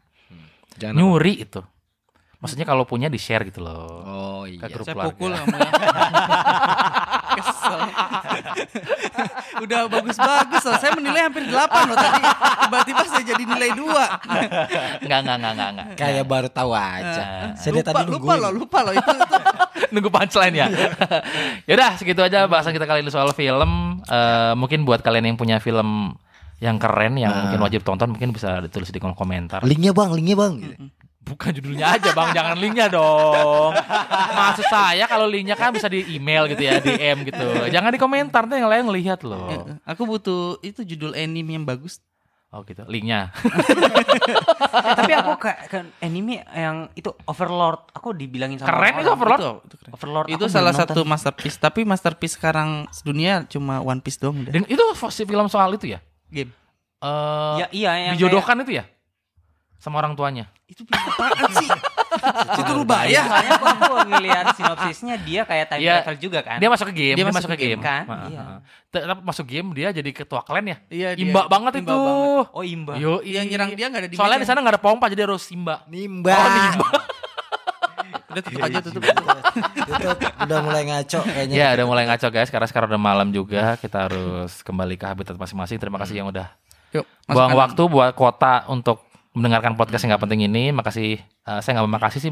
S2: Jangan
S1: nyuri itu maksudnya kalau punya di share gitu loh
S2: Oh
S1: ke
S2: iya.
S1: grup
S3: Saya
S1: keluarga.
S3: pukul kamu ya. Kesel. Udah bagus-bagus loh. Saya menilai hampir 8 loh tadi. Tiba-tiba saya jadi nilai 2.
S1: nggak nggak nggak nggak nggak
S2: Kayak baru tahu aja. Saya dari
S3: lupa,
S2: tadi
S3: lupa
S2: nungguin.
S3: loh, lupa loh itu. itu.
S1: nunggu punchline ya. Yaudah segitu aja bahasan kita kali ini soal film. Eh, mungkin buat kalian yang punya film yang keren yang mungkin wajib tonton mungkin bisa ditulis di kolom komentar.
S2: Linknya bang, linknya bang. Gitu.
S1: Bukan judulnya aja bang, jangan linknya dong. Maksud saya kalau linknya kan bisa di email gitu ya, DM gitu. Jangan di komentar, nanti yang lain ngelihat loh.
S3: Aku butuh itu judul anime yang bagus.
S1: Oh gitu, linknya.
S4: Ya, Tapi aku kayak kan anime yang itu Overlord, aku dibilangin sama
S1: Keren
S4: orang. gitu.
S1: itu Overlord.
S3: Itu, itu keren.
S4: Overlord.
S3: Itu
S4: aku
S3: salah
S4: belum
S3: satu
S4: nonton.
S3: masterpiece, tapi masterpiece sekarang dunia cuma One Piece doang udah.
S1: Dan itu film soal itu ya?
S3: Game.
S1: Eh
S4: Ya, iya yang
S1: dijodohkan itu ya? Sama orang tuanya.
S3: Itu film apaan sih? itu
S2: ya?
S3: ya?
S4: kayak-
S3: rubaya.
S4: Soalnya aku, aku ngelihat sinopsisnya dia kayak time
S1: Iya.
S4: travel juga kan.
S1: Dia masuk ke game,
S3: Dia masuk ke game,
S4: kan?
S1: Heeh,
S4: Iya.
S1: heeh. Tetap masuk game dia jadi ketua klan ya?
S3: Iya, dia.
S1: imba banget
S3: Imba
S1: itu.
S3: banget.
S4: Oh imba.
S1: Yo,
S3: Yang nyerang dia nggak ada di
S1: Soalnya
S3: meja.
S1: di sana nggak ada pompa jadi harus imba.
S2: Nimba.
S3: Udah tutup
S1: Iya.
S3: aja tutup.
S2: Tutup, udah mulai ngaco kayaknya.
S3: Iya.
S1: Ya udah mulai ngaco guys karena sekarang udah malam juga kita harus kembali ke habitat masing-masing. Terima kasih yang udah
S3: Yuk,
S1: buang
S3: Hmm. masukkan.
S1: waktu buat kuota untuk mendengarkan podcast yang nggak penting ini. Makasih eh, saya nggak makasih sih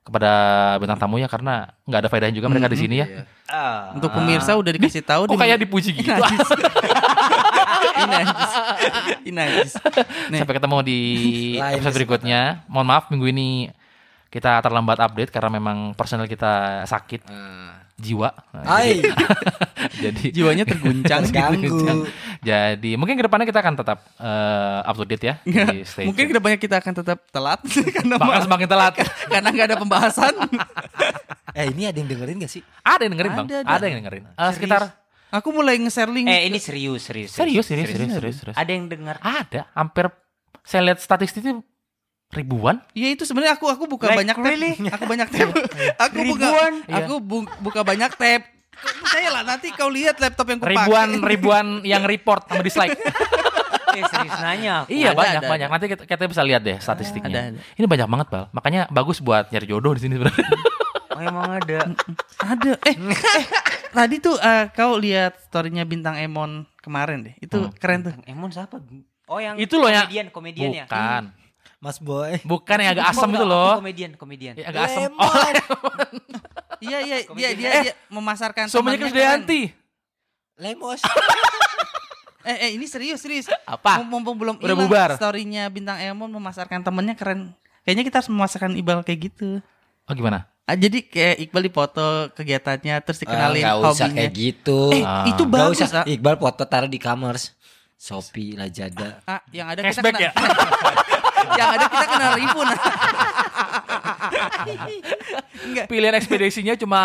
S1: kepada bintang tamunya karena nggak ada faedahnya juga mereka di sini ya.
S4: Ah.
S3: Untuk pemirsa udah dikasih tahu
S1: Kok
S3: Hmm. Iya. Oh, di-
S1: kayak dipuji gitu.
S3: Ini najis. Ini najis. Nih,
S1: Sampai ketemu di
S2: Lain
S1: episode berikutnya. Mohon maaf minggu ini kita terlambat update karena memang personel kita sakit
S3: Ah.
S1: jiwa. Nah,
S2: Hai,
S1: jadi- jadi
S3: jiwanya terguncang
S2: terganggu.
S1: jadi mungkin kedepannya kita akan tetap eh, up to date ya di stage.
S3: Mungkin kedepannya kita akan tetap telat karena
S1: bakal semakin telat.
S3: karena nggak ada pembahasan.
S2: Eh ini ada yang dengerin gak sih?
S1: ada yang dengerin bang,
S3: Ada,
S1: ada,
S3: ada.
S1: yang dengerin. Eh, sekitar
S3: Aku mulai nge-share link.
S4: Eh ini serius serius.
S1: serius serius serius serius. serius.
S4: Ada yang dengar.
S1: Ada, hampir saya lihat statistiknya ribuan.
S3: Ya itu sebenarnya aku aku buka
S4: Like,
S3: banyak tab.
S4: really?
S3: Aku banyak tab. aku buka
S4: Ribuan. Iya.
S3: aku bu- buka banyak tab. Percaya lah nanti kau lihat laptop yang kupakai.
S1: Ribuan ribuan yang report sama dislike.
S4: Eh, serius nanya. aku.
S1: iya
S3: Ada,
S1: banyak
S3: ada,
S1: banyak. Nanti kita, kita bisa lihat deh statistiknya.
S3: Ada, ada.
S1: Ini banyak banget bal. Makanya bagus buat nyari jodoh di sini sebenarnya.
S4: Oh, emang ada.
S3: Ada. Eh,
S4: Hmm.
S3: eh, tadi tuh eh, kau lihat storynya bintang Emon kemarin deh. Itu
S4: Hmm.
S3: keren tuh.
S4: Emon siapa? Oh yang
S1: Itu loh yang-
S4: komedian komedian ya.
S1: Bukan,
S3: Hmm.
S2: Mas Boy.
S1: bukan yang agak asem itu
S4: Aku
S1: loh.
S4: Komedian komedian.
S1: Yang agak asem.
S2: Lemon.
S1: Oh,
S3: Iya iya dia dia, dia memasarkan
S1: Eh, suaminya
S3: temannya
S1: Krisdayanti.
S2: Lemos.
S3: keren. Eh, eh ini serius serius.
S1: Apa?
S3: Mum- Mumpung belum
S1: Udah
S3: hilang
S1: bubar.
S3: storynya bintang Emon memasarkan temennya keren. Kayaknya kita harus memasarkan Iqbal kayak gitu.
S1: Oh gimana?
S3: Ah, jadi kayak Iqbal dipoto kegiatannya terus dikenalin
S2: Gak Ah, usah
S3: Ah, hobinya.
S2: kayak gitu.
S3: Eh,
S1: Ah.
S3: itu
S2: Gak
S3: bagus.
S2: usah.
S3: Ah.
S2: Iqbal foto taruh di kamar. Shopee, Lazada.
S3: Ah, yang ada
S1: Cashback
S3: kita kena, yang ada kita kena ribu nah. Enggak.
S1: Pilihan ekspedisinya cuma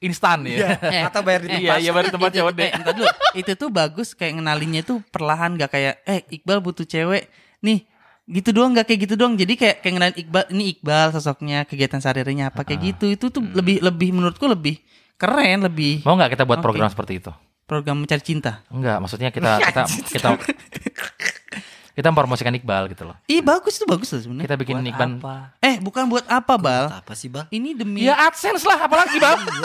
S1: instan ya.
S3: Eh,
S2: Atau bayar di
S1: Iya, iya baru tempat COD.
S3: eh, entar dulu. Itu tuh bagus kayak ngenalinnya tuh perlahan gak kayak eh Iqbal butuh cewek. Nih, gitu doang gak kayak gitu doang. Jadi kayak kayak ngenalin Iqbal, ini Iqbal sosoknya, kegiatan sehari-harinya apa kayak gitu. Itu tuh lebih lebih menurutku lebih keren, lebih
S1: Mau nggak kita buat
S3: Oke.
S1: program seperti itu?
S3: program mencari cinta.
S1: Enggak, maksudnya kita
S3: Iya,
S1: kita kita kita mempromosikan Iqbal gitu loh.
S3: Ih, bagus itu bagus loh sebenarnya.
S1: Kita bikin
S4: Buat
S1: Iqbal.
S4: apa?
S3: Eh, bukan buat apa, Bal?
S2: Apa sih bang?
S3: Ini demi
S1: Ya AdSense lah, apalagi Bang.
S2: Iya,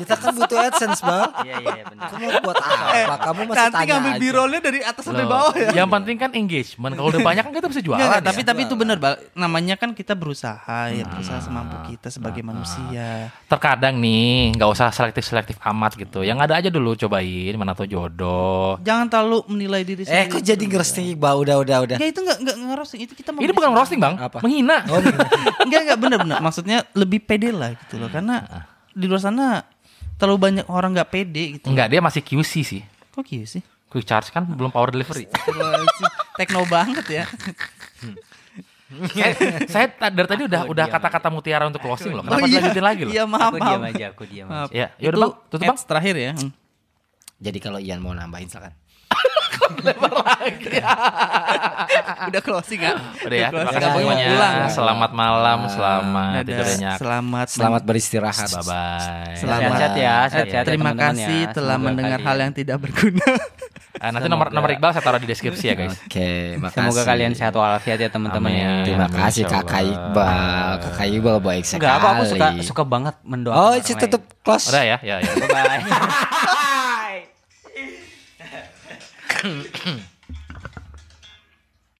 S2: Kita kan butuh AdSense bang.
S4: Iya iya iya, benar.
S2: Kamu buat apa? Kamu masih
S3: Eh, nanti
S2: tanya
S3: ngambil
S2: aja.
S3: birolnya dari atas sampai
S1: Loh,
S3: bawah ya.
S1: Yang penting kan engagement. Kalau udah banyak kan kita bisa jualan.
S3: Nggak, nggak,
S1: ya.
S3: tapi tapi itu benar, Bal. Namanya kan kita berusaha ya, berusaha semampu kita sebagai manusia.
S1: Terkadang nih nggak usah selektif-selektif amat gitu. Yang ada aja dulu cobain mana tuh jodoh.
S3: Jangan terlalu menilai
S2: Eh,
S3: diri sendiri.
S2: kok jadi ngeresting Iqbal? Udah, udah, udah.
S3: Ya itu nggak nggak ngerosting, itu kita
S1: Ini bukan roasting bang,
S2: Apa?
S1: menghina.
S2: Oh,
S3: Enggak enggak benar benar. Maksudnya lebih pede lah gitu loh karena di luar sana terlalu banyak orang nggak pede gitu.
S1: Enggak, dia masih QC sih.
S3: Kok gitu sih?
S1: Quick charge kan belum power delivery.
S3: Tekno banget ya.
S1: saya, saya ta- dari tadi udah udah kata-kata mutiara untuk closing loh. Kenapa
S3: Oh, iya.
S1: dilanjutin lagi loh?
S3: Iya, maaf,
S4: Aku
S3: maaf.
S4: diam aja, aku diam
S3: Maaf.
S4: aja.
S1: Ya,
S3: Itu
S1: yaudah bang, tutup bang.
S3: ads terakhir ya. Hmm.
S2: Jadi kalau Ian mau nambahin silakan.
S3: Ah, Udah closing ya.
S1: Udah ya, terima kasih
S2: Udah,
S1: semuanya.
S2: pulang.
S1: Selamat malam, selamat
S3: Dadah.
S1: tidur nyenyak.
S3: Selamat
S2: Selamat beristirahat.
S1: Bye bye.
S3: Selamat
S4: Sehat-sehat ya, sehat-sehat ya
S3: Terima
S4: teman-teman
S3: kasih
S4: ya.
S3: telah
S4: Semoga
S3: mendengar
S4: kalian-
S3: hal yang tidak berguna.
S1: Eh, nanti nomor nomor Iqbal saya taruh di deskripsi ya guys.
S2: Oke, makasih.
S4: Semoga kalian sehat walafiat ya teman-teman ya.
S1: Amin.
S2: Terima
S1: Amin,
S2: kasih
S1: insya
S2: Kakak
S1: Allah.
S2: Iqbal. Kakak Iqbal baik sekali.
S4: Enggak apa aku suka suka banget mendoakan.
S2: Oh,
S4: orang
S2: itu
S4: lain.
S2: tutup close.
S1: Udah ya, ya ya.
S4: Bye.